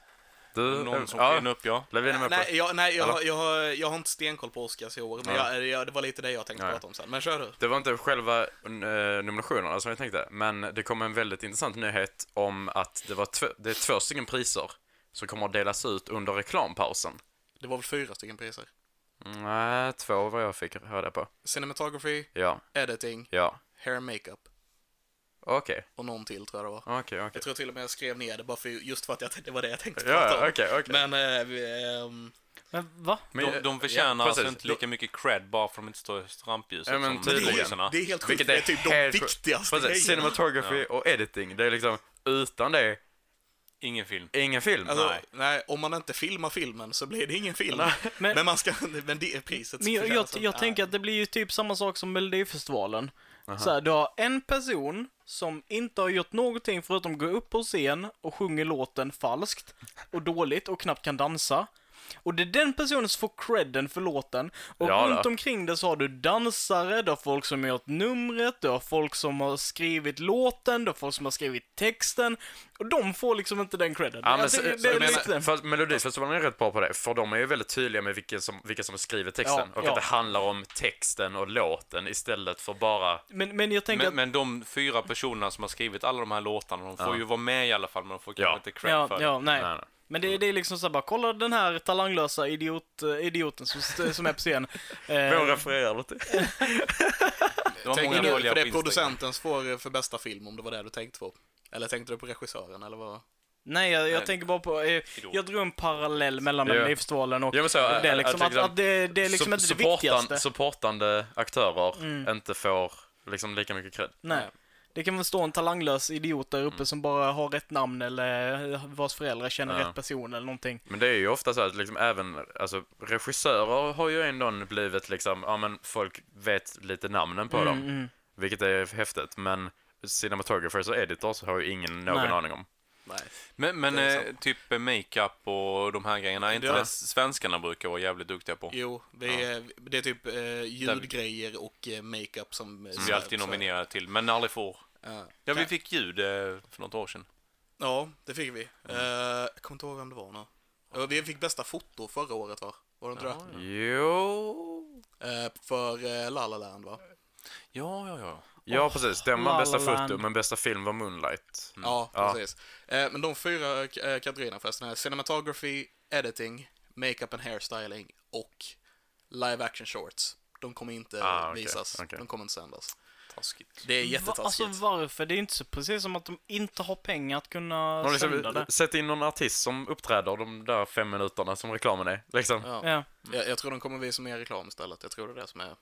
Speaker 4: Du,
Speaker 2: Någon som
Speaker 4: ja,
Speaker 2: sken upp, ja.
Speaker 4: Levin är med på
Speaker 3: Nej, jag, nej jag,
Speaker 4: Eller?
Speaker 3: har- jag, har, jag har inte stenkoll på Oscars i år, men
Speaker 4: Ja.
Speaker 3: jag, jag, det var lite det jag tänkte
Speaker 4: Ja.
Speaker 3: prata om sen. Men kör du.
Speaker 4: Det var inte själva eh, nominationerna som jag tänkte, men det kom en väldigt intressant nyhet om att det, var två- det är två stycken priser som kommer att delas ut under reklampausen.
Speaker 3: Det var väl fyra stycken priser?
Speaker 4: Nej, två vad jag fick höra på.
Speaker 3: Cinematography,
Speaker 4: Ja,
Speaker 3: editing,
Speaker 4: ja.
Speaker 3: hair and makeup
Speaker 4: Okej,
Speaker 3: och någon till tror jag det var.
Speaker 4: okej, okej.
Speaker 3: Jag tror till och med jag skrev ner det bara för just för att jag, det var det jag tänkte prata
Speaker 4: Ja,
Speaker 3: om.
Speaker 4: ja, okej, okej.
Speaker 3: Men eh, vi, ehm,
Speaker 1: Men va?
Speaker 4: Men-
Speaker 2: de, de förtjänar
Speaker 4: ja,
Speaker 2: alltså
Speaker 4: precis.
Speaker 2: inte lika mycket cred bara för att de inte står i rampljuset
Speaker 4: Ja, men
Speaker 2: som
Speaker 4: tydligen.
Speaker 2: skådisarna.
Speaker 3: det är helt sjukt,
Speaker 4: Vilket
Speaker 3: det är typ de
Speaker 4: helt sjukt.
Speaker 3: viktigaste
Speaker 4: Precis,
Speaker 3: grejerna.
Speaker 4: cinematography och editing. Det är liksom, utan det,
Speaker 2: Ingen film.
Speaker 4: ingen film.
Speaker 3: Alltså,
Speaker 2: Nej.
Speaker 3: nej. om man inte filmar filmen så blir det ingen film.
Speaker 1: Men-
Speaker 3: men, man ska, men det är priset.
Speaker 1: Men jag, jag,
Speaker 3: förtjänas
Speaker 1: jag,
Speaker 3: det. alltså. Nej.
Speaker 1: tänker att det blir ju typ samma sak som Melodifestivalen. Så här, du har en person som inte har gjort någonting förutom gå upp på scen och sjunger låten falskt och dåligt och knappt kan dansa. Och det är den personen som får credden för låten. Och
Speaker 4: Ja, då.
Speaker 1: runt omkring det så har du dansare, du har folk som har gjort numret, du har folk som har skrivit låten, du har folk som har skrivit texten. Och de får liksom inte den credden.
Speaker 4: Ja, men,
Speaker 1: Jag
Speaker 4: så,
Speaker 1: tycker
Speaker 4: så,
Speaker 1: det är
Speaker 4: men,
Speaker 1: lite den.
Speaker 4: fast Melodifestivalen är rätt bra på det, för de är ju väldigt tydliga med vilka som, vilka som skriver texten.
Speaker 1: Ja,
Speaker 4: och
Speaker 1: ja.
Speaker 4: att det handlar om texten och låten istället för bara...
Speaker 1: Men, men jag tänker
Speaker 2: Men, men de fyra personerna som har skrivit alla de här låtarna, de får
Speaker 4: Ja.
Speaker 2: ju vara med i alla fall, men de får kanske
Speaker 4: Ja.
Speaker 2: inte cred
Speaker 1: Ja,
Speaker 2: för det.
Speaker 1: ja, nej.
Speaker 4: Nej, nej.
Speaker 1: Men det, det är liksom såhär bara, kolla den här talanglösa idiot, eh, idioten som, st- som är på scen.
Speaker 4: Vem
Speaker 1: Eh,
Speaker 4: refererar du till?
Speaker 2: Det var
Speaker 3: Tänker
Speaker 2: många
Speaker 3: du,
Speaker 2: dåliga
Speaker 3: för
Speaker 2: på
Speaker 3: det är
Speaker 2: Instagram.
Speaker 3: producenten som får eh, för bästa film, om det var det du tänkte på. Eller tänkte du på regissören, eller vad?
Speaker 1: Eh, nej, jag, jag
Speaker 2: Nej.
Speaker 1: tänker bara på, eh, jag drog en parallell mellan
Speaker 4: Ja.
Speaker 1: Melodifestivalen och
Speaker 4: Ja, men eh, så,
Speaker 1: det. Liksom, att, att det, det är liksom
Speaker 4: sup-
Speaker 1: inte det
Speaker 4: supportan-
Speaker 1: viktigaste. Mm.
Speaker 4: Supportande aktörer inte får liksom lika mycket cred.
Speaker 1: Nej. Det kan väl stå en talanglös idiot där uppe som bara har rätt namn eller eh, vars föräldrar känner
Speaker 4: Ja.
Speaker 1: rätt person eller någonting.
Speaker 4: Men det är ju ofta så att liksom även alltså, regissörer har ju ändå blivit liksom, ja men folk vet lite namnen på
Speaker 1: Mm,
Speaker 4: dem, vilket är häftigt, men cinematographers och editors har ju ingen någon
Speaker 1: Nej.
Speaker 4: aning om.
Speaker 3: Nej.
Speaker 2: Men, men
Speaker 3: Det är
Speaker 2: eh, typ eh, makeup och de här grejerna, är inte
Speaker 3: Ja.
Speaker 2: det svenskarna brukar vara jävligt duktiga på?
Speaker 3: Jo, det är, det är typ eh, ljudgrejer och eh, makeup som... eh,
Speaker 2: Som vi
Speaker 3: så-
Speaker 2: alltid
Speaker 3: så-
Speaker 2: nominerar till, men aldrig får.
Speaker 3: Ja.
Speaker 2: Ja, vi
Speaker 3: Kan-
Speaker 2: fick ljud eh, för något år sedan.
Speaker 3: Ja, det fick vi. Eh, jag kommer inte ihåg vem det var nu. Ja, Vi fick bästa foto förra året va? Var det inte det?
Speaker 4: Jo...
Speaker 3: Eh, för eh, La La Land va?
Speaker 1: Mm.
Speaker 2: Ja, ja, ja.
Speaker 4: Ja, precis. Den
Speaker 1: La Mm. La
Speaker 4: var bästa
Speaker 1: Land.
Speaker 4: foto, men bästa film var Moonlight.
Speaker 3: Ja,
Speaker 4: Ja.
Speaker 3: precis. Eh, men de fyra eh, kategorierna förresten är cinematography, editing, makeup and hairstyling och live action shorts. De kommer inte
Speaker 4: Ah, okej,
Speaker 3: visas,
Speaker 4: okej.
Speaker 3: de kommer inte sändas.
Speaker 2: Taskigt.
Speaker 3: Det är
Speaker 1: Va,
Speaker 3: jättetaskigt.
Speaker 1: alltså varför? Det är inte så precis som att de inte har pengar att kunna
Speaker 4: Har
Speaker 1: sända
Speaker 4: liksom,
Speaker 1: det.
Speaker 4: sätt in någon artist som uppträder de där fem minuterna som reklamen är. Liksom.
Speaker 3: ja.
Speaker 1: Ja.
Speaker 3: jag, jag tror de kommer visa mer reklam istället. Jag tror det är det som är...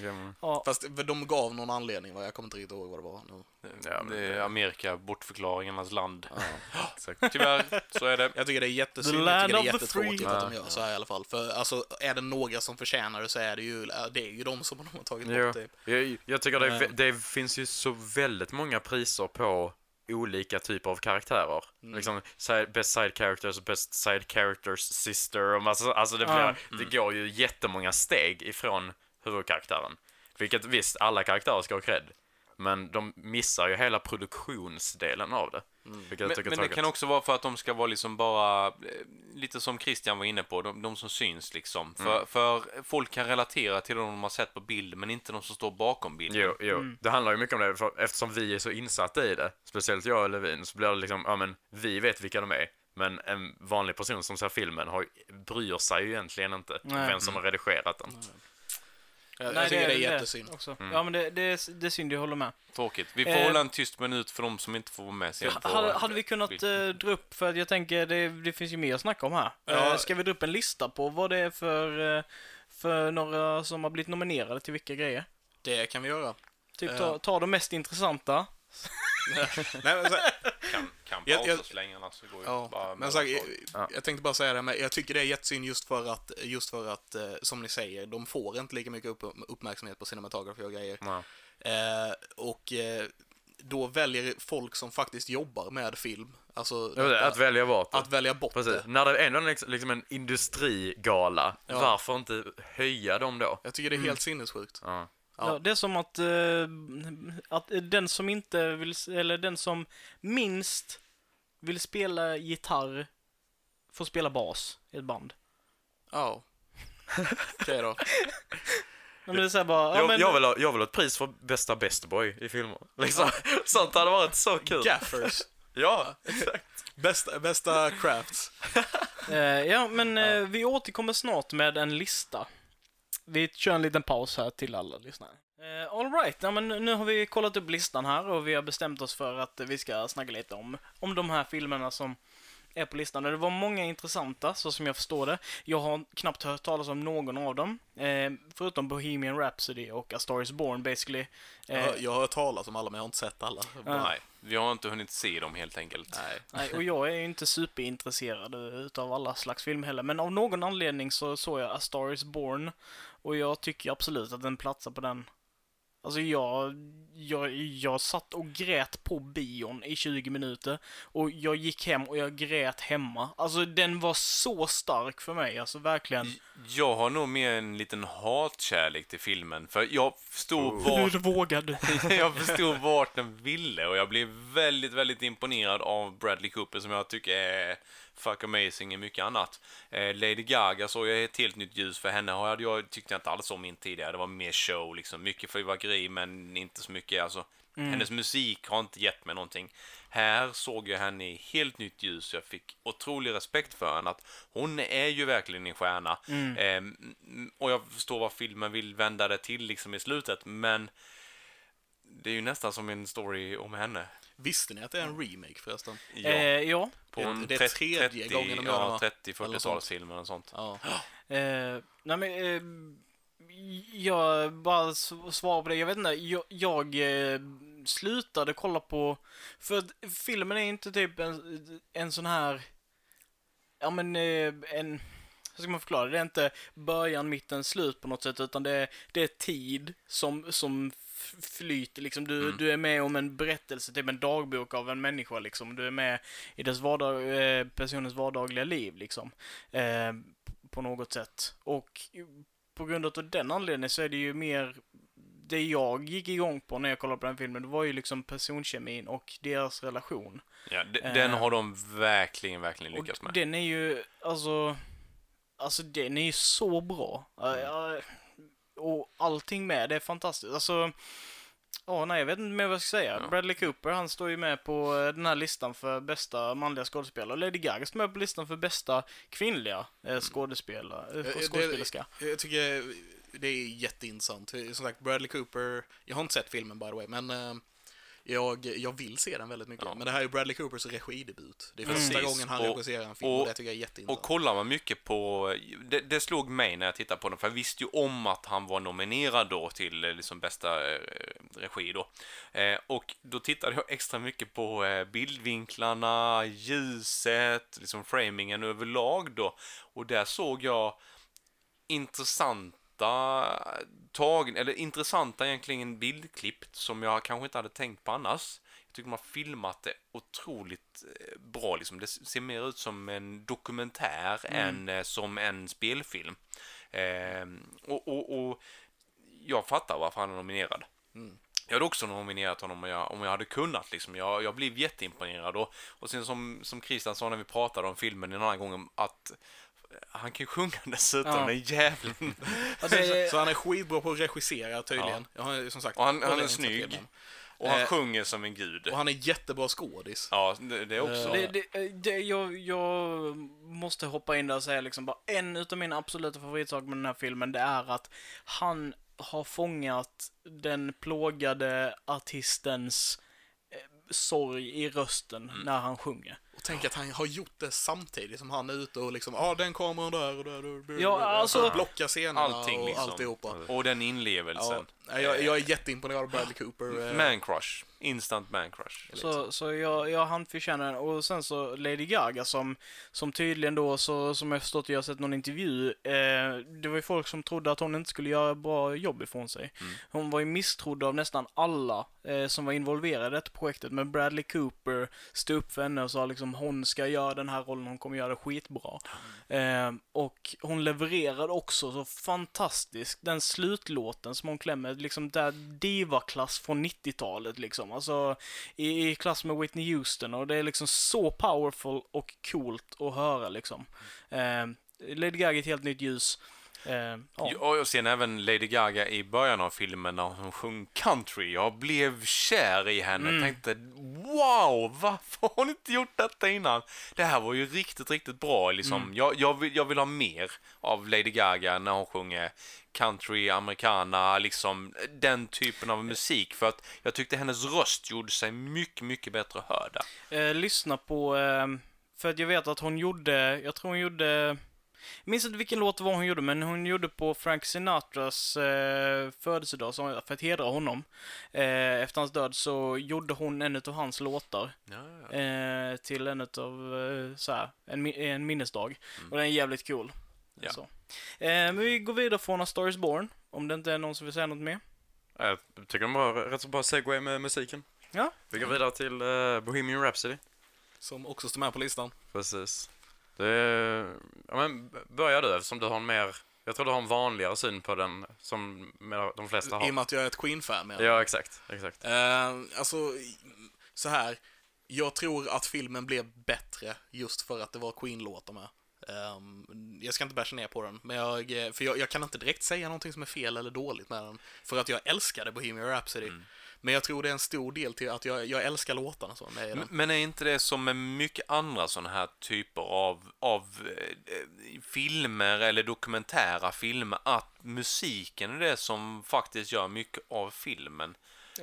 Speaker 4: Ja.
Speaker 1: Ja.
Speaker 3: Fast de gav någon anledning, va? jag kommer inte riktigt ihåg vad det var nu.
Speaker 4: Ja, men
Speaker 2: det är Amerika, bortförklaringarnas <gasps> land.
Speaker 4: exakt.
Speaker 2: Tyvärr, så är det.
Speaker 3: Jag tycker det är jättesynd,
Speaker 1: The
Speaker 3: jag tycker det är
Speaker 1: land of the free.
Speaker 3: jättetråkigt att de gör så här i alla fall. För alltså, är det några som förtjänar det så är det ju, det är ju de som har tagit
Speaker 4: Jo.
Speaker 3: bort typ.
Speaker 4: Jag, jag tycker det, är,
Speaker 3: Eh.
Speaker 4: vä- det finns ju så väldigt många priser på olika typer av karaktärer. Liksom side, best side characters, best side characters sister och massa, alltså det, blir,
Speaker 1: Ja.
Speaker 4: det går ju jättemånga steg ifrån huvudkaraktären. Vilket visst, alla karaktärer ska ha cred. Men de missar ju hela produktionsdelen av det. Vilket
Speaker 2: Men,
Speaker 4: jag tycker är
Speaker 2: men det
Speaker 4: tråkigt.
Speaker 2: kan också vara för att de ska vara liksom bara, eh, lite som Christian var inne på, de, de som syns liksom. För, för folk kan relatera till dem de har sett på bild, men inte de som står bakom bilden.
Speaker 4: Jo, jo.
Speaker 1: Mm.
Speaker 4: Det handlar ju mycket om det, för eftersom vi är så insatta i det, speciellt jag och Levin, så blir det liksom, ja men vi vet vilka de är, men en vanlig person som ser filmen har, ju- bryr sig ju egentligen inte
Speaker 1: Nej. Mm.
Speaker 4: vem som har redigerat den.
Speaker 3: Jag, jag tycker det är jättesynd.
Speaker 1: också. Ja, men det, det, är, det är synd, jag håller med.
Speaker 2: Tråkigt. Vi får
Speaker 1: Eh.
Speaker 2: hålla en tyst minut för de som inte får vara med sen. på-
Speaker 1: Hade, hade vi kunnat eh, dra upp, för att jag tänker det, det finns ju mer att snacka om här.
Speaker 3: Ja.
Speaker 1: Eh, ska vi dra upp en lista på vad det är för, eh, för några som har blivit nominerade till vilka grejer?
Speaker 3: Det kan vi
Speaker 4: <laughs>
Speaker 3: göra.
Speaker 1: Typ
Speaker 3: Ja.
Speaker 1: ta, ta de mest intressanta.
Speaker 3: Nej, men, så,
Speaker 2: kan, kan
Speaker 3: Jag-
Speaker 2: pausa
Speaker 3: jag-
Speaker 2: så länge, annars så går ju
Speaker 3: ja,
Speaker 2: bara...
Speaker 3: men så, eh, jag,
Speaker 4: Ja.
Speaker 3: jag tänkte bara säga det, men jag tycker det är jättesynd just för att, just för att eh, som ni säger, de får inte lika mycket upp, uppmärksamhet på cinematografi och grejer.
Speaker 4: Ja.
Speaker 3: Eh, och eh, då väljer folk som faktiskt jobbar med film, alltså
Speaker 4: Jag vet,
Speaker 3: detta,
Speaker 4: Att välja bort det.
Speaker 3: att välja bort
Speaker 4: Precis.
Speaker 3: det.
Speaker 4: När det ändå är liksom en industrigala,
Speaker 3: Ja.
Speaker 4: varför inte höja dem då?
Speaker 3: Jag tycker det är helt sinnessjukt.
Speaker 4: Ja.
Speaker 3: Ja.
Speaker 1: Ja, det är som att, eh, att eh, den som inte vill, s- eller den som minst vill spela gitarr får spela bas i ett band.
Speaker 2: <laughs>
Speaker 3: Ja. Okej då.
Speaker 1: Men det är så här bara, ja,
Speaker 4: Jag,
Speaker 1: men,
Speaker 4: jag, vill ha, jag vill ha ett pris för bästa best boy i filmer. Liksom. <laughs> Sånt hade varit så kul.
Speaker 3: Gaffers.
Speaker 4: Ja, exakt.
Speaker 3: Bästa, bästa crafts.
Speaker 1: eh, ja, men eh, vi återkommer snart med en lista. Vi kör en liten paus här till alla lyssnare. Eh, all right, ja, men nu har vi kollat upp listan här och vi har bestämt oss för att eh, vi ska snacka lite om, om de här filmerna som är på listan. Och det var många intressanta, så som jag förstår det. Jag har knappt hört talas om någon av dem, eh, förutom Bohemian Rhapsody och A Star Is Born basically. Eh,
Speaker 3: Jag, jag har hört talas om alla, men jag har inte sett alla.
Speaker 1: Ja.
Speaker 2: Nej, vi har inte hunnit se dem helt enkelt.
Speaker 3: Nej.
Speaker 1: Nej, och jag är ju inte superintresserad eh, utav alla slags film heller, men av någon anledning så såg jag A Star Is Born och jag tycker absolut att den platsar på den Alltså jag, jag, jag satt och grät på bion i 20 minuter och jag gick hem och jag grät hemma. Alltså den var så stark för mig, alltså verkligen.
Speaker 2: Jag har nog mer en liten hatkärlek till filmen, för jag förstod
Speaker 3: Oh.
Speaker 2: vart
Speaker 1: Hur vågar du?
Speaker 2: jag förstod vart den ville och jag blev väldigt, väldigt imponerad av Bradley Cooper som jag tycker är fuck amazing i mycket annat. Eh, Lady Gaga såg jag i ett helt nytt ljus för henne hade jag tyckte jag inte alls om in tidigare. Det var mer show liksom, mycket fyrverkeri men inte så mycket alltså. Hennes musik har inte gett mig någonting. Här såg jag henne i helt nytt ljus. Jag fick otrolig respekt för henne. Att hon är ju verkligen en stjärna. Eh, m- och jag förstår vad filmen vill vända det till liksom i slutet. Men det är ju nästan som en story om henne.
Speaker 3: Visste ni att det är en remake förresten?
Speaker 2: Ja,
Speaker 1: Eh, ja.
Speaker 2: på
Speaker 3: det-
Speaker 2: en
Speaker 3: det är
Speaker 2: 30,
Speaker 3: tredje
Speaker 2: 30,
Speaker 3: gången de gör det,
Speaker 2: ja,
Speaker 3: va?
Speaker 2: 30-40-talsfilmer och sånt.
Speaker 3: Ja.
Speaker 1: Eh, nej men, eh, jag bara s- svarar på det. Jag vet inte, jag, jag eh, slutade kolla på, för att filmen är inte typ en, en sån här, ja men eh, en, hur ska man förklara det? Det är inte början, mitten, slut på något sätt, utan det är, det är tid som, som f- flyter liksom. Du, du är med om en berättelse, typ en dagbok av en människa liksom. Du är med i dess vardag, eh, personens vardagliga liv liksom. Eh, på något sätt. Och på grund av den anledningen så är det ju mer det jag gick igång på när jag kollade på den filmen, det var ju liksom personkemin och deras relation.
Speaker 2: Ja, d-
Speaker 1: Eh,
Speaker 2: den har de verkligen, verkligen lyckats
Speaker 1: Och
Speaker 2: med.
Speaker 1: den är ju, alltså, alltså den är ju så bra. Ja, ja, Och allting med det är fantastiskt. Alltså, ja, nej, jag vet inte mer vad jag ska säga. Bradley Cooper, han står ju med på eh, den här listan för bästa manliga skådespelare. Lady Gaga står med på listan för bästa kvinnliga eh, skådespelare, eh,
Speaker 3: Eh, det-
Speaker 1: skådespelerska.
Speaker 3: Jag tycker det är jätteintressant. Eh, Som sagt, Bradley Cooper, jag har inte sett filmen by the way, men eh, jag, jag vill se den väldigt mycket. Men det här är Bradley Coopers regidebut. Det är första
Speaker 2: Precis.
Speaker 3: gången han
Speaker 2: Och-
Speaker 3: regisserar en film och, det tycker jag är jätteintressant.
Speaker 2: Och kollar man mycket på, det, det slog mig när jag tittade på den, för jag visste ju om att han var nominerad då till eh, liksom bästa eh, regi då. Eh, och då tittade jag extra mycket på eh, bildvinklarna, ljuset, liksom framingen överlag då. Och där såg jag intressanta tag, eller intressanta egentligen bildklipp som jag kanske inte hade tänkt på annars. Jag tycker de har filmat det otroligt eh, bra liksom. Det ser mer ut som en dokumentär än eh, som en spelfilm. Eh, och, och, och jag fattar varför han är nominerad. Jag hade också nominerat honom om jag, om jag hade kunnat. Liksom. Jag, jag blev jätteimponerad. Och, och sen som, som Christian sa när vi pratade om filmen en annan gång, att eh, han kan ju sjunga <laughs> dessutom,
Speaker 1: Ja.
Speaker 2: den jäveln.
Speaker 3: <laughs>
Speaker 1: Ja, det,
Speaker 3: Så han är skitbra på att regissera tydligen. Jag har, som sagt,
Speaker 2: Och han, han
Speaker 3: kollat
Speaker 2: är
Speaker 3: in
Speaker 2: snygg.
Speaker 3: filmen.
Speaker 2: Och han
Speaker 3: Eh,
Speaker 2: sjunger som en gud.
Speaker 3: Och han Eh, är jättebra skådis.
Speaker 2: Ja, det, det är också.
Speaker 1: det, det, eh, det, jag, jag måste hoppa in där och säga liksom bara en utav mina absoluta favoritsaker med den här filmen det är att han har fångat den plågade artistens eh, sorg i rösten när han sjunger.
Speaker 3: Och tänk att han har gjort det samtidigt som han är ute och liksom, ja ah, den kameran där och där och där.
Speaker 1: Ja, alltså-
Speaker 3: blocka scenerna
Speaker 2: Allting
Speaker 3: och
Speaker 2: liksom. Alltså,
Speaker 3: alltihopa.
Speaker 2: Och den
Speaker 3: Ja,
Speaker 2: inlevelsen.
Speaker 3: nej, jag, jag är jätteimponerad av Bradley Cooper. eh,
Speaker 2: Man crush. Instant man crush.
Speaker 1: Så, så jag, jag hann förtjäna den. Och sen så Lady Gaga som, som tydligen då, så, som jag förstått, jag har sett någon intervju, eh, det var ju folk som trodde att hon inte skulle göra bra jobb ifrån sig. Hon var ju misstrodd av nästan alla eh, som var involverade i detta projektet, men Bradley Cooper stod upp för henne och sa liksom hon ska göra den här rollen, hon kommer göra det skitbra. Eh, och hon levererade också så fantastiskt den slutlåten som hon klämmer, liksom där divaklass från 90-talet liksom. Alltså i, i klass med Whitney Houston och det är liksom så powerful och coolt att höra liksom. Eh, Lady Gaga i ett helt nytt ljus. Eh, ja.
Speaker 2: Ja, och sen även Lady Gaga i början av filmen när hon sjöng country. Jag blev kär i henne. Tänkte wow, varför har hon inte gjort detta innan? Det här var ju riktigt, riktigt bra liksom. Jag, jag, vill, jag vill ha mer av Lady Gaga när hon sjunger country, americana, liksom den typen av musik. För att jag tyckte hennes röst gjorde sig mycket, mycket bättre hörda.
Speaker 1: eh, lyssna på, eh, för att jag vet att hon gjorde, jag tror hon gjorde, jag minns inte vilken låt det var hon gjorde, men hon gjorde på Frank Sinatras eh, födelsedag, så hon- för att hedra honom. Eh, efter hans död så gjorde hon en av hans låtar. Eh, till en utav, eh, så här, en, mi- en minnesdag.
Speaker 3: Mm.
Speaker 1: Och den är jävligt cool.
Speaker 2: Ja.
Speaker 1: Så. Eh, men vi går vidare från A Star Is Born, om det inte är någon som vill säga något mer.
Speaker 4: Jag tycker de har rätt så bra segway med musiken.
Speaker 1: Ja.
Speaker 4: Vi går vidare till eh, Bohemian Rhapsody.
Speaker 3: Som också står med på listan.
Speaker 4: Precis. Det är, ja, men börja du eftersom du har en mer, jag tror du har en vanligare syn på den som mer- de flesta
Speaker 3: I och
Speaker 4: har.
Speaker 3: med att jag är ett Queen-fan menar jag.
Speaker 4: Ja, exakt. exakt.
Speaker 3: Eh, alltså, så här. Jag tror att filmen blev bättre just för att det var Queen-låtar med. Ehm, jag ska inte basha ner på den, men jag, eh, för jag, jag kan inte direkt säga någonting som är fel eller dåligt med den. För att jag älskade Bohemian Rhapsody.
Speaker 4: Mm.
Speaker 3: Men jag tror det är en stor del till att jag, jag älskar låtarna så. Det är
Speaker 4: Mm.
Speaker 3: den.
Speaker 2: Men är inte det som med mycket andra sådana här typer av, av eh, eh, filmer eller dokumentära filmer att musiken är det som faktiskt gör mycket av filmen?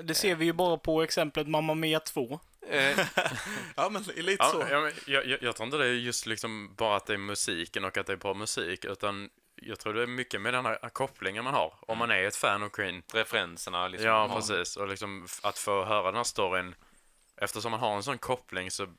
Speaker 1: Det ser
Speaker 3: Eh.
Speaker 1: vi ju bara på exemplet Mamma Mia
Speaker 3: Mm.
Speaker 1: 2.
Speaker 2: Eh,
Speaker 3: Ja, men lite så.
Speaker 4: Ja, ja, men jag, jag, jag tror inte det är just liksom bara att det är musiken och att det är bra musik, utan jag tror det är mycket med den här kopplingen man har.
Speaker 3: Mm.
Speaker 4: Om man är ett fan av Queen.
Speaker 2: referenserna liksom.
Speaker 4: Ja, precis. Och liksom f- att få höra den här storyn, eftersom man har en sån koppling så b-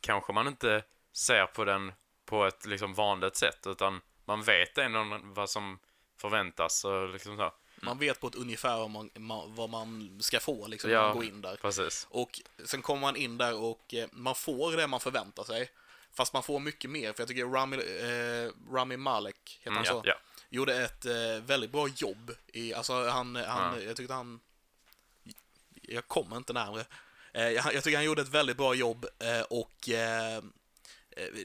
Speaker 4: kanske man inte ser på den på ett liksom vanligt sätt, utan man vet ändå vad som förväntas och liksom så.
Speaker 3: Man vet på ett ungefär vad man, ma- vad man ska få liksom,
Speaker 4: Ja.
Speaker 3: när man går in där.
Speaker 4: Precis.
Speaker 3: Och sen kommer man in där och eh, man får det man förväntar sig. Fast man får mycket mer, för jag tycker Rami, eh, Rami Malek, heter han så?
Speaker 4: Mm, ja, ja.
Speaker 3: Gjorde ett eh, väldigt bra jobb. I, alltså han, han jag tyckte han... Jag kommer inte närmare. Eh, jag, jag tycker han gjorde ett väldigt bra jobb eh, och eh, eh,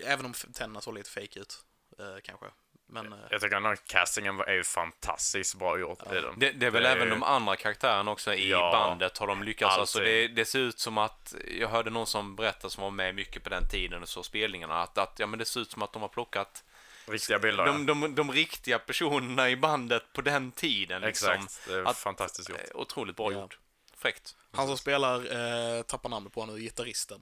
Speaker 3: även om tänderna såg lite fake ut, eh, kanske. Men, eh,
Speaker 4: Jag tycker den här castingen var- är ju fantastiskt bra gjort i den.
Speaker 2: Det, det är väl
Speaker 4: Det är
Speaker 2: även
Speaker 4: ju-
Speaker 2: de andra karaktärerna också i
Speaker 4: Ja.
Speaker 2: bandet har de lyckats. Alltså,
Speaker 4: Allting.
Speaker 2: det, det ser ut som att, jag hörde någon som berättade som var med mycket på den tiden och så spelningarna, att, att ja, men det ser ut som att de har plockat
Speaker 4: Riktiga bilder.
Speaker 2: de, de, de riktiga personerna i bandet på den tiden.
Speaker 4: ja.
Speaker 2: Liksom.
Speaker 4: Exakt. Det är
Speaker 2: Att-
Speaker 4: fantastiskt gjort.
Speaker 2: Eh, Otroligt bra
Speaker 3: Ja.
Speaker 2: gjort. Fräckt.
Speaker 3: han som spelar, eh, tappar namnet på honom, gitarristen.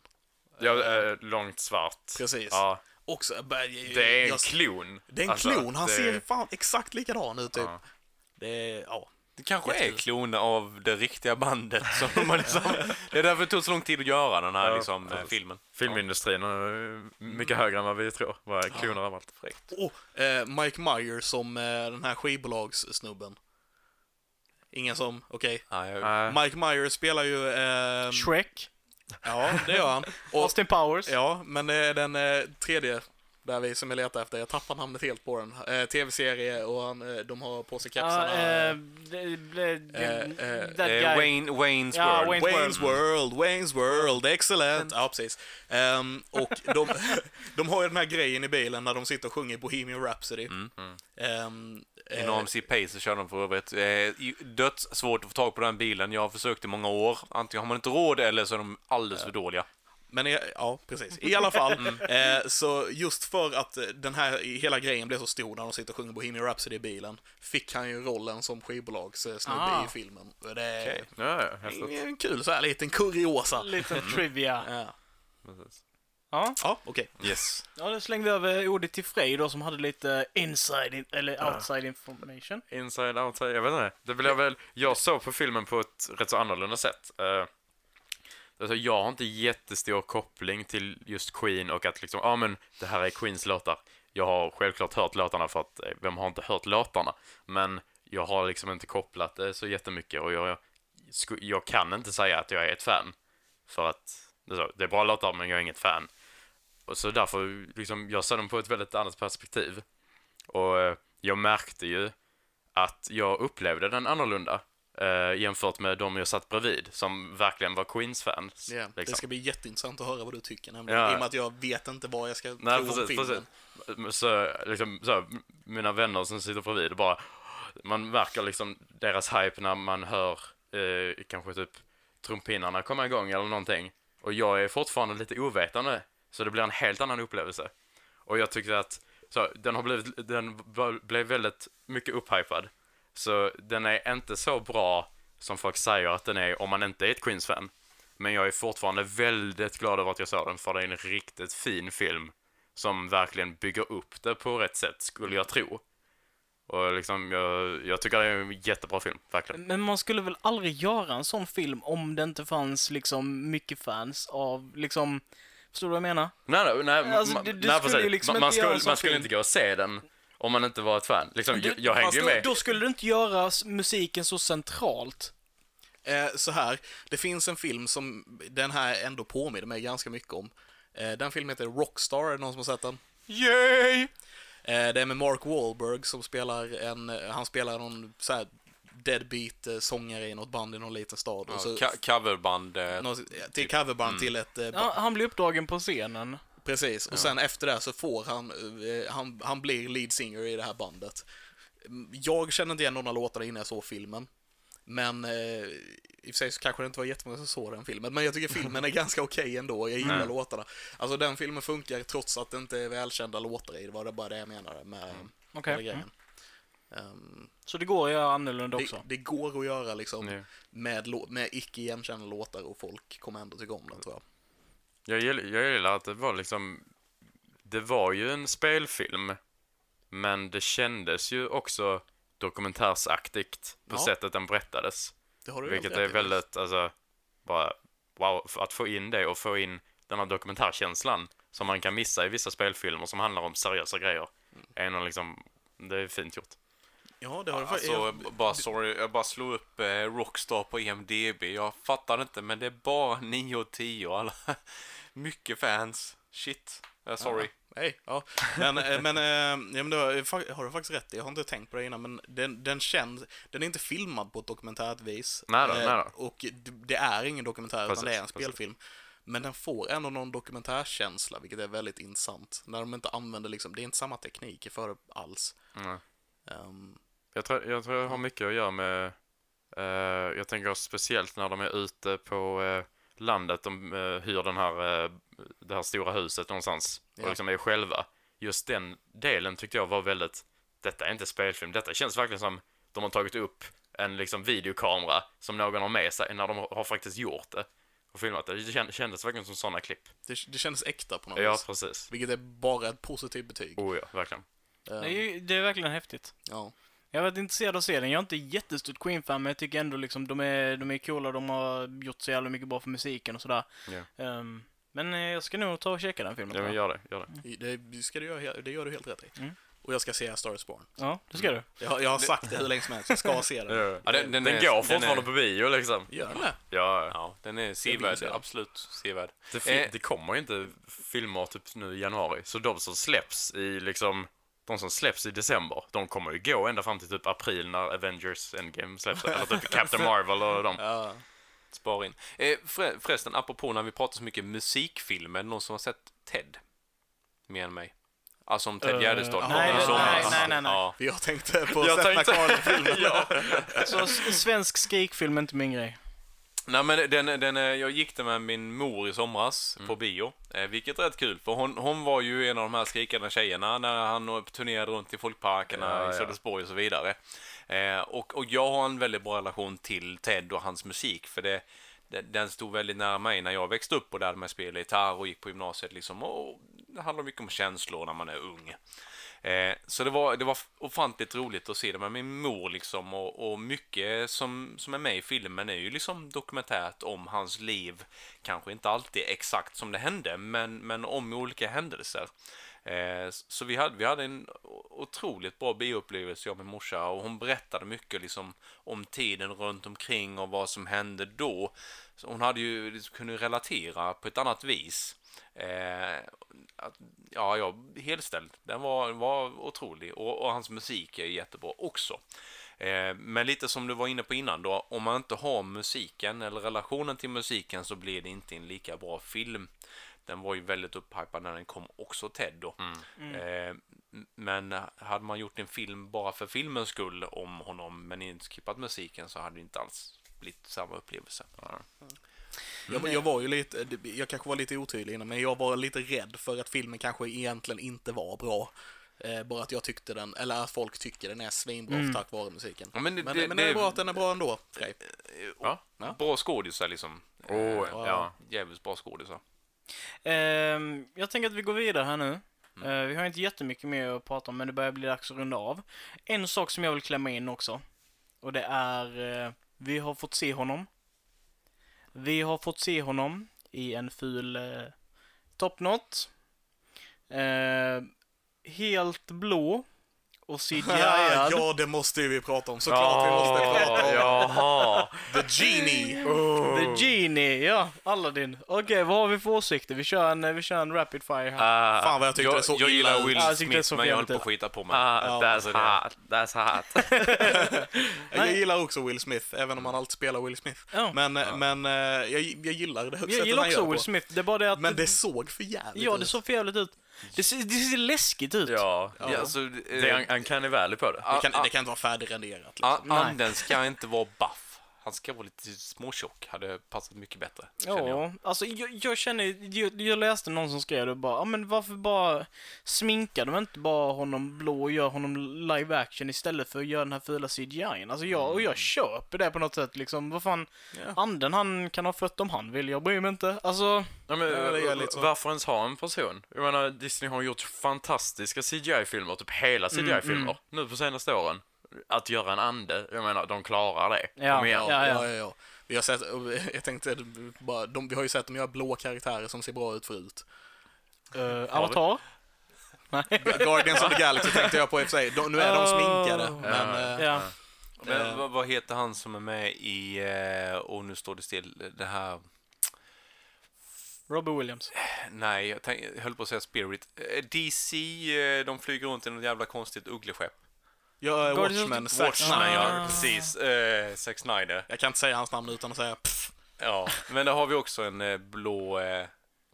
Speaker 4: Ja, eh, långt svart.
Speaker 3: Precis.
Speaker 4: Ja.
Speaker 3: Också, eh,
Speaker 4: Det är en
Speaker 3: jag-
Speaker 4: klon.
Speaker 3: Det är en
Speaker 4: Alltså,
Speaker 3: klon, han
Speaker 4: det-
Speaker 3: ser fan exakt likadan ut typ.
Speaker 4: Ja.
Speaker 3: Det är, ja.
Speaker 2: Det kanske är
Speaker 3: Jättekul.
Speaker 2: kloner av det riktiga bandet som de har liksom... <laughs> Det är därför det tog så lång tid att göra den här
Speaker 4: Ja,
Speaker 2: liksom, eh,
Speaker 4: precis.
Speaker 2: filmen.
Speaker 4: Filmindustrin är eh, mycket högre än vad vi tror. Vad är kloner överallt.
Speaker 3: Och eh, Mike Myers som eh, den här skivbolagssnubben. Ingen som, okej.
Speaker 2: Ja, jag,
Speaker 4: Nej.
Speaker 3: Mike Myers spelar ju... ehm,
Speaker 1: Shrek.
Speaker 3: ja, det gör
Speaker 4: <laughs>
Speaker 3: han. Och,
Speaker 1: Austin Powers.
Speaker 3: ja, men det är den eh, tredje där vi som jag letar efter. Jag tappar namnet helt på den. Eh, Tv-serie och han, eh, de har på sig
Speaker 1: Ja,
Speaker 3: kepsarna.
Speaker 1: eh, det- det- det-
Speaker 3: eh,
Speaker 1: that
Speaker 2: eh,
Speaker 1: guy.
Speaker 2: Wayne, Wayne's
Speaker 1: Ja,
Speaker 2: World.
Speaker 1: Wayne-
Speaker 3: Wayne's World, Wayne's World, excellent! Ja, precis. Ehm, och de, <laughs> de har ju den här grejen i bilen när de sitter och sjunger Bohemian Rhapsody. Ehm, eh,
Speaker 2: Inom C Pace så kör de för övrigt. Eh, i- Dödssvårt att få tag på den bilen. Jag har försökt i många år. Antingen har man inte råd eller så är de alldeles för dåliga.
Speaker 3: Men i, ja, precis. I alla fall, eh, så just för att eh, den här hela grejen blev så stor när de sitter och sjunger Bohemian Rhapsody i bilen, fick han ju rollen som skivbolagssnubbe
Speaker 1: Ah.
Speaker 3: i filmen. Och Det är
Speaker 2: Okej.
Speaker 4: Ja, ja, häftigt.
Speaker 3: en kul så här liten kuriosa.
Speaker 1: Liten trivia.
Speaker 3: Ja,
Speaker 1: Ja.
Speaker 3: ja okej.
Speaker 2: Yes.
Speaker 1: ja, då slängde vi över ordet till Frej då som hade lite inside, in, eller outside information.
Speaker 4: Inside, outside, jag vet inte. Det blev väl, jag såg på filmen på ett rätt så annorlunda sätt. Eh, alltså jag har inte jättestor koppling till just Queen och att liksom, ja ah, men det här är Queens låtar. Jag har självklart hört låtarna för att, eh, vem har inte hört låtarna? Men jag har liksom inte kopplat det så jättemycket och jag, jag, sku- jag kan inte säga att jag är ett fan. För att, det är så, det är bra låtar men jag är inget fan. Och så därför, liksom, jag ser dem på ett väldigt annat perspektiv. Och eh, jag märkte ju att jag upplevde den annorlunda eh, jämfört med de jag satt bredvid som verkligen var Queens-fans.
Speaker 3: Ja, Det
Speaker 4: liksom.
Speaker 3: ska bli jätteintressant att höra vad du tycker nämligen,
Speaker 4: Ja.
Speaker 3: i och med att jag vet inte vad jag ska
Speaker 4: Nej,
Speaker 3: tro om
Speaker 4: precis,
Speaker 3: filmen.
Speaker 4: precis. Så, liksom, så, här, mina vänner som sitter bredvid, bara, man märker liksom deras hype när man hör eh, kanske typ trumpinnarna komma igång eller någonting. Och jag är fortfarande lite ovetande, så det blir en helt annan upplevelse. Och jag tyckte att så, den, har blivit, den var- blev väldigt mycket upphypad. Så den är inte så bra som folk säger att den är om man inte är ett Queens-fan. Men jag är fortfarande väldigt glad över att jag såg den, för det är en riktigt fin film som verkligen bygger upp det på rätt sätt, skulle jag tro. Och liksom, jag, jag tycker det är en jättebra film, verkligen.
Speaker 1: Men man skulle väl aldrig göra en sån film om det inte fanns liksom mycket fans av liksom, förstår du vad jag menar?
Speaker 4: Nej, nej, nej,
Speaker 1: Alltså,
Speaker 4: man-
Speaker 1: du- du
Speaker 4: nej
Speaker 1: skulle
Speaker 4: precis.
Speaker 1: ju liksom
Speaker 4: man, man
Speaker 1: inte göra en
Speaker 4: skulle,
Speaker 1: sån
Speaker 4: man skulle
Speaker 1: film.
Speaker 4: inte gå och se den Om man inte var ett fan. Liksom, jag,
Speaker 1: Du-
Speaker 4: jag hängde
Speaker 1: fast
Speaker 4: ju
Speaker 1: då-
Speaker 4: med.
Speaker 1: Då skulle du inte göra s- musiken så centralt.
Speaker 3: Eh, så här, det finns en film som den här ändå påminner mig ganska mycket om. Eh, den filmen heter Rockstar, är det någon som har sett den?
Speaker 2: Yay!
Speaker 3: Eh, det är med Mark Wahlberg som spelar en, eh, han spelar någon så här deadbeat eh, sångare i något band i någon liten stad. och så,
Speaker 2: Ka- coverband. eh,
Speaker 3: något, till coverband till ett eh,
Speaker 1: Ja, han blir uppdragen på scenen.
Speaker 3: Precis, och sen efter det så får han, eh, han, han blir lead singer i det här bandet. Mm, Jag kände inte igen någon av låtarna innan jag såg filmen. Men eh, i och för sig så kanske det inte var jättemånga som såg den filmen, men jag tycker filmen är ganska okej ändå. Jag gillar låtarna. Alltså den filmen funkar trots att det inte är välkända låtar i det, var det bara det jag menade med
Speaker 1: Okej.
Speaker 3: hela grejen.
Speaker 1: Mm.
Speaker 3: Ehm,
Speaker 1: Så det går att göra annorlunda
Speaker 3: det,
Speaker 1: också.
Speaker 3: det går att göra liksom
Speaker 4: Ja.
Speaker 3: med, lå- med icke igenkända låtar och folk kommer ändå tycka om den tror jag.
Speaker 4: Jag, gill, jag gillar att det var liksom... Det var ju en spelfilm, men det kändes ju också dokumentärsaktigt på
Speaker 3: Ja.
Speaker 4: sättet den berättades.
Speaker 3: Det har du
Speaker 4: Vilket
Speaker 3: helt
Speaker 4: är
Speaker 3: rätt i.
Speaker 4: väldigt, alltså, bara wow, f- att få in det och få in den här dokumentärkänslan som man kan missa i vissa spelfilmer som handlar om seriösa grejer.
Speaker 3: Mm.
Speaker 4: Är någon liksom, det är fint gjort.
Speaker 3: Ja, det har du
Speaker 2: Alltså,
Speaker 3: jag-
Speaker 2: jag, b- bara sorry, jag bara slog upp eh, Rockstar på IMDB. Jag fattar inte, men det är bara <laughs> 9 och 10 alla. <laughs> Mycket fans. Shit. Eh, sorry.
Speaker 3: Nej, ja. Men, eh, men, eh, ja, men det har, fa- har du faktiskt rätt i. Jag har inte tänkt på det innan, men den, den känns... Den är inte filmad på ett dokumentärt vis.
Speaker 4: Nej då,
Speaker 3: Eh,
Speaker 4: nej då.
Speaker 3: Och d- det är ingen dokumentär,
Speaker 4: Precis,
Speaker 3: utan det är en
Speaker 4: precis.
Speaker 3: spelfilm. Men den får ändå någon dokumentärkänsla, vilket är väldigt intressant. När de inte använder liksom, det är inte samma tekniker för det alls.
Speaker 4: Mm.
Speaker 3: Ehm,
Speaker 4: Jag tror jag, tror jag har mycket att göra med, eh, jag tänker speciellt när de är ute på eh, landet, de eh, hyr den här, eh, det här stora huset någonstans
Speaker 3: Ja.
Speaker 4: och liksom är själva. Just den delen tyckte jag var väldigt, detta är inte spelfilm, detta känns verkligen som de har tagit upp en liksom videokamera som någon har med sig när de har har faktiskt gjort det och filmat det. Det kän- kändes verkligen som sådana klipp.
Speaker 3: det, det kändes äkta på något
Speaker 4: Ja,
Speaker 3: vis.
Speaker 4: precis.
Speaker 3: Vilket är bara ett positivt betyg.
Speaker 4: Oh ja, verkligen.
Speaker 3: Ehm,
Speaker 1: Det är, ju, det är verkligen häftigt.
Speaker 3: ja.
Speaker 1: Jag har varit intresserad av att se den. Jag är inte jättestort Queen-fan, men jag tycker ändå liksom de är, de är coola, de har gjort så jävla mycket bra för musiken och sådär.
Speaker 4: Ja.
Speaker 1: Ehm, men eh, jag ska nog ta och checka den filmen.
Speaker 4: Ja,
Speaker 1: tror
Speaker 4: men
Speaker 1: jag.
Speaker 4: gör det, gör det.
Speaker 3: Det, ska du göra, he- det gör du helt rätt i.
Speaker 1: Mm.
Speaker 3: Och jag ska se A Star is Born.
Speaker 1: ja, det ska du.
Speaker 3: Jag, jag har sagt det hur länge som helst, jag ska se den.
Speaker 2: Ja, den- den
Speaker 4: den
Speaker 2: är-
Speaker 4: går
Speaker 2: den
Speaker 4: fortfarande
Speaker 2: är-
Speaker 4: på bio liksom.
Speaker 3: Gör den det?
Speaker 4: Ja, ja.
Speaker 2: Ja, den är
Speaker 3: vill
Speaker 2: sevärd.
Speaker 3: se den.
Speaker 2: Absolut sevärd.
Speaker 4: Det, fi-
Speaker 2: Eh.
Speaker 4: det kommer ju inte filmer typ nu i januari, så de som släpps i liksom de som släpps i december, de kommer ju gå ända fram till typ april när Avengers Endgame släpps, eller <laughs> typ Captain Marvel och de.
Speaker 3: Ja.
Speaker 2: Spara in. Eh, förre- förresten, apropå när vi pratar så mycket musikfilmer, någon som har sett Ted? Mer än mig. Alltså om Ted
Speaker 1: Eh, nej,
Speaker 2: Gärdestad kom i
Speaker 3: nej,
Speaker 2: somras.
Speaker 3: nej,
Speaker 1: nej, nej. <laughs>
Speaker 2: Ja.
Speaker 3: För jag tänkte på
Speaker 4: Jag
Speaker 3: Seth
Speaker 4: tänkte-
Speaker 3: MacFarlane-filmen.
Speaker 4: ja.
Speaker 1: Så s- svensk skrikfilm är inte min grej.
Speaker 2: Nej men den, den, eh, jag gick där med min mor i somras
Speaker 4: Mm.
Speaker 2: på bio, eh, vilket är rätt kul för hon, hon var ju en av de här skrikande tjejerna när han eh, turnerade runt i folkparkerna
Speaker 4: Ja, ja.
Speaker 2: i Sölvesborg och så vidare. Eh, och, och jag har en väldigt bra relation till Ted och hans musik för det, de- den stod väldigt nära mig när jag växte upp och lärde mig spela gitarr och gick på gymnasiet liksom och det handlar mycket om känslor när man är ung. Eh, så det var, det var ofantligt roligt att se det med min mor liksom och, och mycket som, som är med i filmen är ju liksom dokumentärt om hans liv. Kanske inte alltid exakt som det hände, men, men om olika händelser. Eh, så vi hade, vi hade en otroligt bra bioupplevelse jag och min morsa och hon berättade mycket liksom om tiden runt omkring och vad som hände då. Så hon hade ju liksom, kunde relatera på ett annat vis. Eh, att, ja, jag helställd. Den var, var otrolig och, och hans musik är jättebra också. Eh, men lite som du var inne på innan då, om man inte har musiken eller relationen till musiken så blir det inte en lika bra film. Den var ju väldigt upphypad när den kom också, Ted då.
Speaker 3: Mm.
Speaker 2: Eh, m- men hade man gjort en film bara för filmens skull om honom men inte skippat musiken så hade det inte alls blivit samma upplevelse.
Speaker 3: Jag, jag var ju lite, jag kanske var lite otydlig innan, men jag var lite rädd för att filmen kanske egentligen inte var bra. Eh, bara att jag tyckte den, eller att folk tycker den är svinbra tack vare musiken.
Speaker 2: Ja, men
Speaker 3: men
Speaker 2: det-
Speaker 3: det, men,
Speaker 2: det-
Speaker 3: det
Speaker 2: det-
Speaker 3: är bra att den är bra ändå, Frej.
Speaker 4: Ja.
Speaker 2: Bra skådisar liksom.
Speaker 4: Oh, ja.
Speaker 2: Jävligt bra skådisar.
Speaker 1: Ehm, jag tänker att vi går vidare här nu.
Speaker 3: Mm.
Speaker 1: Eh, vi har inte jättemycket mer att prata om, men det börjar bli dags att runda av. En sak som jag vill klämma in också. Och det är, eh, vi har fått se honom. Vi har fått se honom i en ful uh, topknot. Eh, helt Ehm, blå och
Speaker 3: <laughs>
Speaker 1: cgi
Speaker 3: Ja, ja, det måste ju vi prata om. Såklart vi måste
Speaker 4: Ja,
Speaker 3: prata om
Speaker 4: Jaha.
Speaker 3: The Genie.
Speaker 4: Oh.
Speaker 1: The Genie, ja. Aladdin. Okej, vad har vi för åsikter? Vi kör en, eh, vi kör en rapid fire här.
Speaker 4: Ah,
Speaker 3: Fan vad jag tyckte det såg
Speaker 2: jag
Speaker 3: illa
Speaker 2: gillar
Speaker 3: ut.
Speaker 2: Will
Speaker 1: Ja, jag tyckte det
Speaker 2: Smith,
Speaker 1: såg
Speaker 2: men jag höll
Speaker 1: jävligt
Speaker 2: på att
Speaker 1: ut.
Speaker 2: skita på mig.
Speaker 4: ah,
Speaker 3: Ja,
Speaker 4: that's
Speaker 3: det-
Speaker 4: hot. That's hot.
Speaker 3: Jag
Speaker 1: Nej.
Speaker 3: gillar också Will Smith, även om han alltid spelar Will Smith.
Speaker 1: Ja.
Speaker 3: Men, men eh, jag, jag gillar det
Speaker 1: jag
Speaker 3: sättet
Speaker 1: gillar
Speaker 3: han gör
Speaker 1: också
Speaker 3: det
Speaker 1: Will
Speaker 3: på.
Speaker 1: Smith. Det är bara det att...
Speaker 3: Men det såg för jävligt
Speaker 1: ja,
Speaker 3: ut.
Speaker 1: det såg för jävligt ut. Det ser, det ser läskigt ut.
Speaker 4: Ja.
Speaker 2: Ja, alltså, eh,
Speaker 4: Det är en uncanny valley på det.
Speaker 2: a-
Speaker 3: Det kan,
Speaker 2: a-
Speaker 3: det kan inte vara färdigrenderat. Liksom.
Speaker 2: a-
Speaker 1: Nej.
Speaker 2: ah, anden ska inte vara buff. Han ska vara lite småtjock. Hade passat mycket bättre. känner jag.
Speaker 1: Ja, alltså jag, jag känner, jag, jag läste någon som skrev det och bara, ja men varför bara sminkar de inte bara honom blå och gör honom live action istället för att göra den här fula CGI-en? Alltså jag, och jag köper det på något sätt liksom, vad fan, anden han kan ha fött om han vill, jag bryr mig inte. Alltså,
Speaker 4: Ja, men, eh,
Speaker 3: Ja, det gör lite så.
Speaker 4: varför ens ha en person? Jag menar, Disney har gjort fantastiska CGI-filmer, typ hela CGI-filmer, nu på senaste åren. Att göra en ande, jag menar, de klarar det.
Speaker 1: Ja,
Speaker 4: Kom igen.
Speaker 1: ja,
Speaker 3: ja, ja, ja. Vi har sett, jag tänkte bara, de, vi har ju sett dem göra blå karaktärer som ser bra ut förut.
Speaker 1: uh, avatar? Nej.
Speaker 3: Guardians of the Galaxy tänkte jag på i och för sig. De, nu är de sminkade, men... eh,
Speaker 1: Oh. Ja.
Speaker 2: Men vad, vad heter han som är med i, eh, och nu står det still, det här...
Speaker 1: Robbie Williams.
Speaker 2: Nej, jag, tänk, jag höll på att säga Spirit. Eh, DC, eh, de flyger runt i något jävla konstigt uggleskepp.
Speaker 3: Jag är
Speaker 1: Guardians of
Speaker 3: Watchmen,
Speaker 1: the-
Speaker 3: Zack
Speaker 2: Watchmen,
Speaker 3: Snyder.
Speaker 2: ja. Precis. Eh, Zack Snyder.
Speaker 3: Jag kan inte säga hans namn utan att säga pff.
Speaker 2: Ja, men där har vi också en eh, blå eh,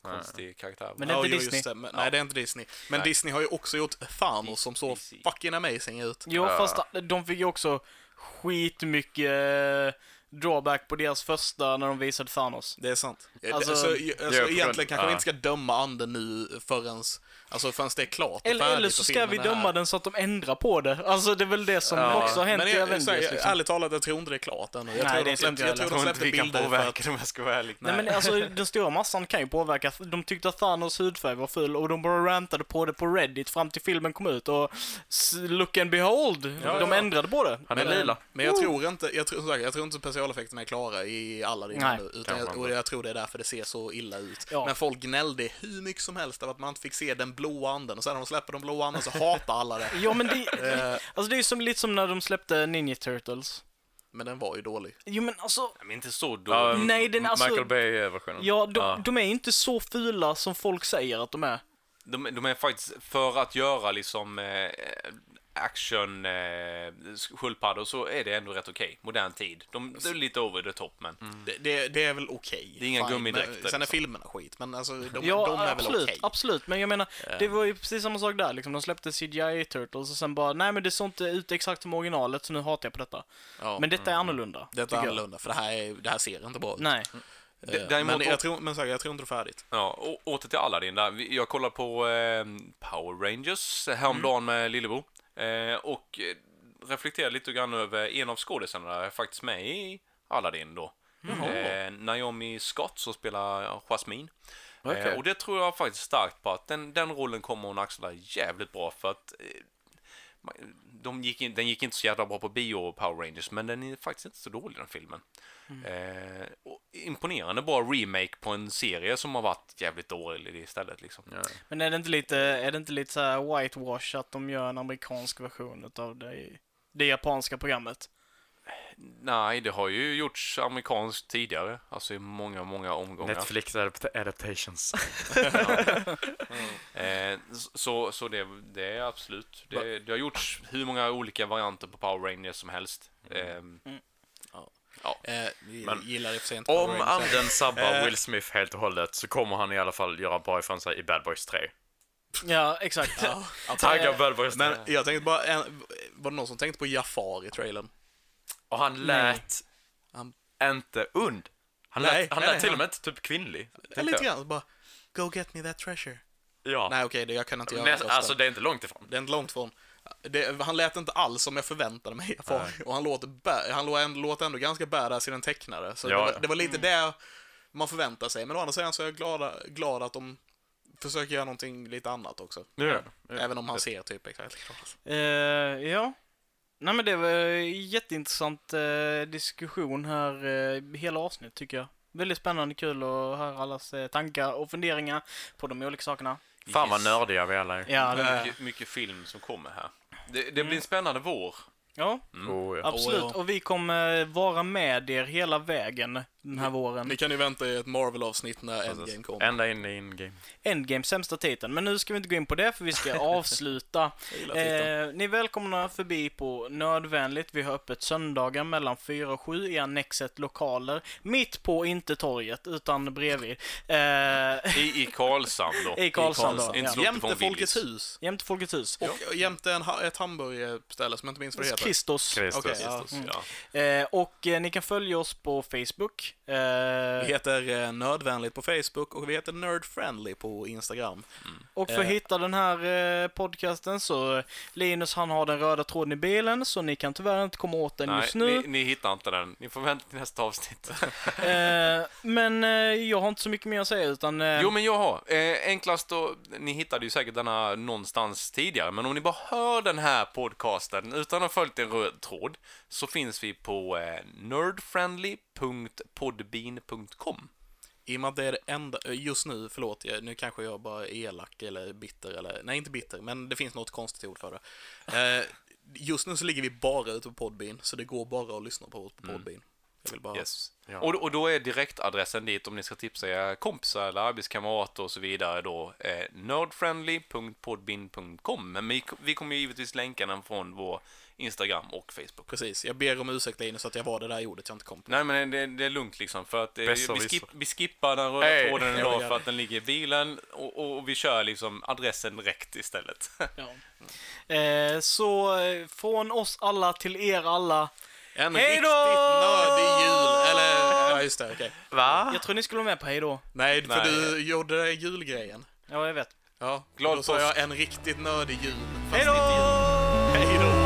Speaker 2: konstig karaktär.
Speaker 1: Men det är
Speaker 3: Ja,
Speaker 1: inte
Speaker 3: jo, just
Speaker 1: Disney.
Speaker 3: det. Men, Nej, det är inte Disney. Men Disney har ju också gjort Thanos som såg
Speaker 2: DC.
Speaker 3: fucking amazing ut.
Speaker 1: Jo, fast de fick ju också skitmycket eh, drawback på deras första när de visade Thanos.
Speaker 3: Det är sant.
Speaker 1: Alltså-
Speaker 3: Alltså, så, alltså,
Speaker 4: Ja, på grund-
Speaker 3: egentligen kanske vi
Speaker 4: ja.
Speaker 3: inte ska döma anden nu förrän, alltså, förrän det är klart och
Speaker 1: Eller,
Speaker 3: färdigt
Speaker 1: eller
Speaker 3: och
Speaker 1: så ska
Speaker 3: filmen
Speaker 1: vi
Speaker 3: är
Speaker 1: döma
Speaker 3: här.
Speaker 1: den så att de ändrar på det. Alltså det är väl det som också har hänt
Speaker 3: Men
Speaker 1: i
Speaker 3: jag,
Speaker 1: Avengers.
Speaker 3: så här, jag,
Speaker 1: liksom.
Speaker 3: ärligt talat, jag tror inte det är klart ännu.
Speaker 1: Nej,
Speaker 3: Jag tror
Speaker 1: det
Speaker 3: de
Speaker 1: är inte
Speaker 3: släppte,
Speaker 1: jag
Speaker 3: jag
Speaker 2: jag
Speaker 3: tror de
Speaker 2: tror inte
Speaker 3: släppte
Speaker 2: vi kan
Speaker 3: bilder för att...
Speaker 2: påverka om jag ska vara ärlig.
Speaker 1: Nej, men
Speaker 3: <laughs>
Speaker 1: alltså den stora massan kan ju påverka. De tyckte att Thanos hudfärg var ful och de bara rantade på det på Reddit fram till filmen kom ut och s- look and behold, de ändrade på det.
Speaker 4: Han är lila.
Speaker 3: Men jag tror inte, jag tror, som sagt, jag tror inte specialeffekterna är klara i alla
Speaker 1: Nej,
Speaker 3: delar nu, utan
Speaker 4: kanske
Speaker 3: jag, och
Speaker 4: inte.
Speaker 3: jag tror det är därför det ser så illa ut.
Speaker 1: Ja.
Speaker 3: Men folk gnällde hur mycket som helst av att man inte fick se den blåa anden, och sen när de släpper den blåa anden så hatar alla det.
Speaker 1: Ja men
Speaker 3: <laughs>
Speaker 1: det,
Speaker 3: Eh.
Speaker 1: alltså det är ju som, lite som när de släppte Ninja Turtles.
Speaker 3: Men den var ju dålig.
Speaker 1: Jo men alltså,
Speaker 2: Men inte så
Speaker 4: Ja,
Speaker 2: dåligt.
Speaker 1: Nej, den-
Speaker 4: M-
Speaker 1: alltså-
Speaker 4: Michael Bay-versionen.
Speaker 1: ja de, de är inte så fula som folk säger att de är.
Speaker 2: De, de är faktiskt, för att göra liksom eh, action eh, sköldpaddor så är det ändå rätt okej. Modern tid. De, det är lite over the top men.
Speaker 1: Mm.
Speaker 3: Det, det, det är väl okej.
Speaker 2: Det är inga
Speaker 3: Fine.
Speaker 2: gummidräkter,
Speaker 3: Men, sen är
Speaker 2: liksom.
Speaker 3: filmerna skit, men alltså de,
Speaker 1: Ja,
Speaker 3: de är
Speaker 1: absolut,
Speaker 3: väl okej. Eh.
Speaker 1: absolut. Men jag menar, det var ju precis samma sak där liksom. De släppte CGI Turtles och sen bara, nej men det såg inte ut exakt som originalet så nu hatar jag på detta.
Speaker 3: Ja. mm,
Speaker 1: Men detta är annorlunda.
Speaker 3: Detta är
Speaker 1: tycker jag.
Speaker 3: annorlunda, för det här, är, det här ser inte bra ut.
Speaker 1: Nej.
Speaker 3: Eh,
Speaker 2: D- däremot-
Speaker 3: men jag tror, men så här, jag tror inte det är färdigt.
Speaker 2: Ja, å- åter till Aladdin där. Vi- Jag kollar på eh, Power Rangers häromdagen med Lillebo. Eh, och eh, reflekterade lite grann över en av skådespelarna är faktiskt med i Aladdin då. Eh, Naomi Scott som spelar Jasmine.
Speaker 4: Okej.
Speaker 2: Eh, och det tror jag faktiskt starkt på att den, den rollen kommer hon axla jävligt bra för att eh, ma- de gick in, den gick inte så jävla bra på bio, Power Rangers, men den är faktiskt inte så dålig den filmen. Eh, och imponerande bra remake på en serie som har varit jävligt dålig istället. Liksom.
Speaker 4: Ja.
Speaker 1: Men är det inte lite, är det inte lite så här whitewash att de gör en amerikansk version av det, det japanska
Speaker 3: <laughs>
Speaker 1: programmet?
Speaker 2: Nej, det har ju gjorts amerikanskt tidigare, alltså i många, många omgångar.
Speaker 4: Netflix adapt- adaptations.
Speaker 2: Eh, s- så så det, det är absolut. Det, det har gjorts hur många olika varianter på Power Rangers som helst.
Speaker 4: Mm.
Speaker 2: Eh,
Speaker 3: Eh, vi gillar det för sent.
Speaker 4: Om anden sabbar Will Smith helt och hållet så kommer han i alla fall göra bra ifrån sig i Bad Boys 3.
Speaker 1: Ja, exakt. ja.
Speaker 4: Tagga Bad Boys 3.
Speaker 3: Eh, Men jag tänkte bara, en, var det någon som tänkte på Jafar i trailern?
Speaker 4: Och han lät
Speaker 3: Han-
Speaker 4: inte und. Han lät,
Speaker 3: Nej,
Speaker 4: han
Speaker 3: nej,
Speaker 4: lät
Speaker 3: nej,
Speaker 4: till
Speaker 3: han-
Speaker 4: och med inte typ kvinnlig. tänkte
Speaker 3: Lite
Speaker 4: jag.
Speaker 3: grann, bara Go get me that treasure.
Speaker 4: Ja.
Speaker 3: Nej okej, det jag kan inte göra
Speaker 4: Näst,
Speaker 3: rösten.
Speaker 4: alltså det är inte långt ifrån.
Speaker 3: Det är inte långt från. Det, han lät inte alls som jag förväntade mig Jafar. Och han låter, bä- han lå- ändå- låter ändå ganska badass i den tecknade. Så
Speaker 4: Ja,
Speaker 3: det,
Speaker 4: ja.
Speaker 3: var, det var
Speaker 1: Mm.
Speaker 3: lite det man förväntar sig. Men å andra sidan så är jag glad, glad att de försöker göra någonting lite annat också.
Speaker 4: Ja.
Speaker 3: Även om han ser typ exakt likadan ut.
Speaker 1: Eh, ja. Nej men det var en jätteintressant eh, diskussion här, eh, hela avsnittet tycker jag. Väldigt spännande, kul att höra allas eh, tankar och funderingar på de olika sakerna.
Speaker 4: Fan vad nördiga vi alla är.
Speaker 1: Ja, det,
Speaker 2: mycket, mycket film som kommer här. Eh. Det, det blir
Speaker 1: Mm.
Speaker 2: en spännande vår.
Speaker 1: Ja,
Speaker 4: Oh, ja.
Speaker 1: absolut.
Speaker 3: Oh, ja.
Speaker 1: Och vi kommer eh, vara med er hela vägen den här våren.
Speaker 3: Ni kan ju vänta er ett Marvel-avsnitt när
Speaker 4: Precis.
Speaker 3: Endgame kommer.
Speaker 4: Ända in i in-game.
Speaker 1: Endgame, sämsta titeln. Men nu ska vi inte gå in på det, för vi ska <laughs> avsluta.
Speaker 3: gillar
Speaker 1: eh, ni är välkomna förbi på Nördvänligt. Vi har öppet söndagar mellan 4 och 7 i Annexet lokaler. Mitt på, inte torget, utan bredvid. Eh,
Speaker 2: I, i Karlshamn då.
Speaker 1: I Karlshamn då.
Speaker 2: Karlshamn. Inte
Speaker 1: Ja.
Speaker 2: så långt
Speaker 3: Jämte
Speaker 2: ifrån Willys.
Speaker 3: Folkets hus.
Speaker 1: Jämte Folkets hus.
Speaker 3: Och jämte en, ha- ett hamburgerställe som jag inte minns vad det heter.
Speaker 1: Kristos.
Speaker 4: Kristus.
Speaker 3: Okej,
Speaker 1: ja.
Speaker 2: Kristus, ja.
Speaker 1: Eh, och eh, ni kan följa oss på Facebook. Eh,
Speaker 3: Vi heter eh, Nördvänligt på Facebook och vi heter Nerdfriendly på Instagram.
Speaker 1: Och för att
Speaker 3: Eh.
Speaker 1: hitta den här eh, podcasten så eh, Linus han har den röda tråden i bilen så ni kan tyvärr inte komma åt den
Speaker 2: Nej,
Speaker 1: just nu.
Speaker 2: ni, ni hittar inte den. Ni får vänta till
Speaker 1: <laughs>
Speaker 2: nästa avsnitt.
Speaker 1: Eh, men eh, jag har inte så mycket mer att säga utan... Eh,
Speaker 2: Jo, men jag har. Eh, enklast då, ni hittade ju säkert denna någonstans tidigare, men om ni bara hör den här podcasten utan att ha följt en röd tråd så finns vi på eh, nerdfriendly.podbean.com.
Speaker 3: I och med att det är det enda, eh, just nu, förlåt, jag- nu kanske jag bara är elak eller bitter eller, nej inte bitter, men det finns något konstigt ord för det. Eh, just nu så ligger vi bara ute på Podbean, så det går bara att lyssna på oss på Podbean. Jag vill bara...
Speaker 2: Yes. Och, och då är direktadressen dit om ni ska tipsa era kompisar eller arbetskamrater och så vidare då eh, nerdfriendly.podbean.com. Men vi, vi kommer ju givetvis länka den från vår Instagram och Facebook.
Speaker 3: Precis, jag ber om ursäkt Linus att jag var det där ordet jag inte kom på.
Speaker 2: Nej, men det, det är lugnt liksom. För att eh, vi,
Speaker 4: Besserwisser.
Speaker 2: skip, vi skippar den röda
Speaker 4: Hey.
Speaker 2: tråden
Speaker 3: Ja,
Speaker 2: idag
Speaker 3: ja.
Speaker 2: för att den ligger i bilen och, och, och vi kör liksom adressen direkt istället. <laughs>
Speaker 1: Ja. Eh, så eh, från oss alla till er alla.
Speaker 3: En
Speaker 1: Hej
Speaker 3: riktigt
Speaker 1: då!
Speaker 3: nördig jul, eller, ja just det, okej.
Speaker 4: Va?
Speaker 1: Jag tror ni skulle vara med på hej då.
Speaker 3: Nej, för
Speaker 2: Nej.
Speaker 3: du gjorde det julgrejen.
Speaker 1: Ja, jag vet.
Speaker 3: Ja,
Speaker 2: Glad
Speaker 3: då sa
Speaker 2: påsk.
Speaker 3: jag en riktigt nördig jul. fast
Speaker 1: Hej då!
Speaker 3: inte jul. Hej då!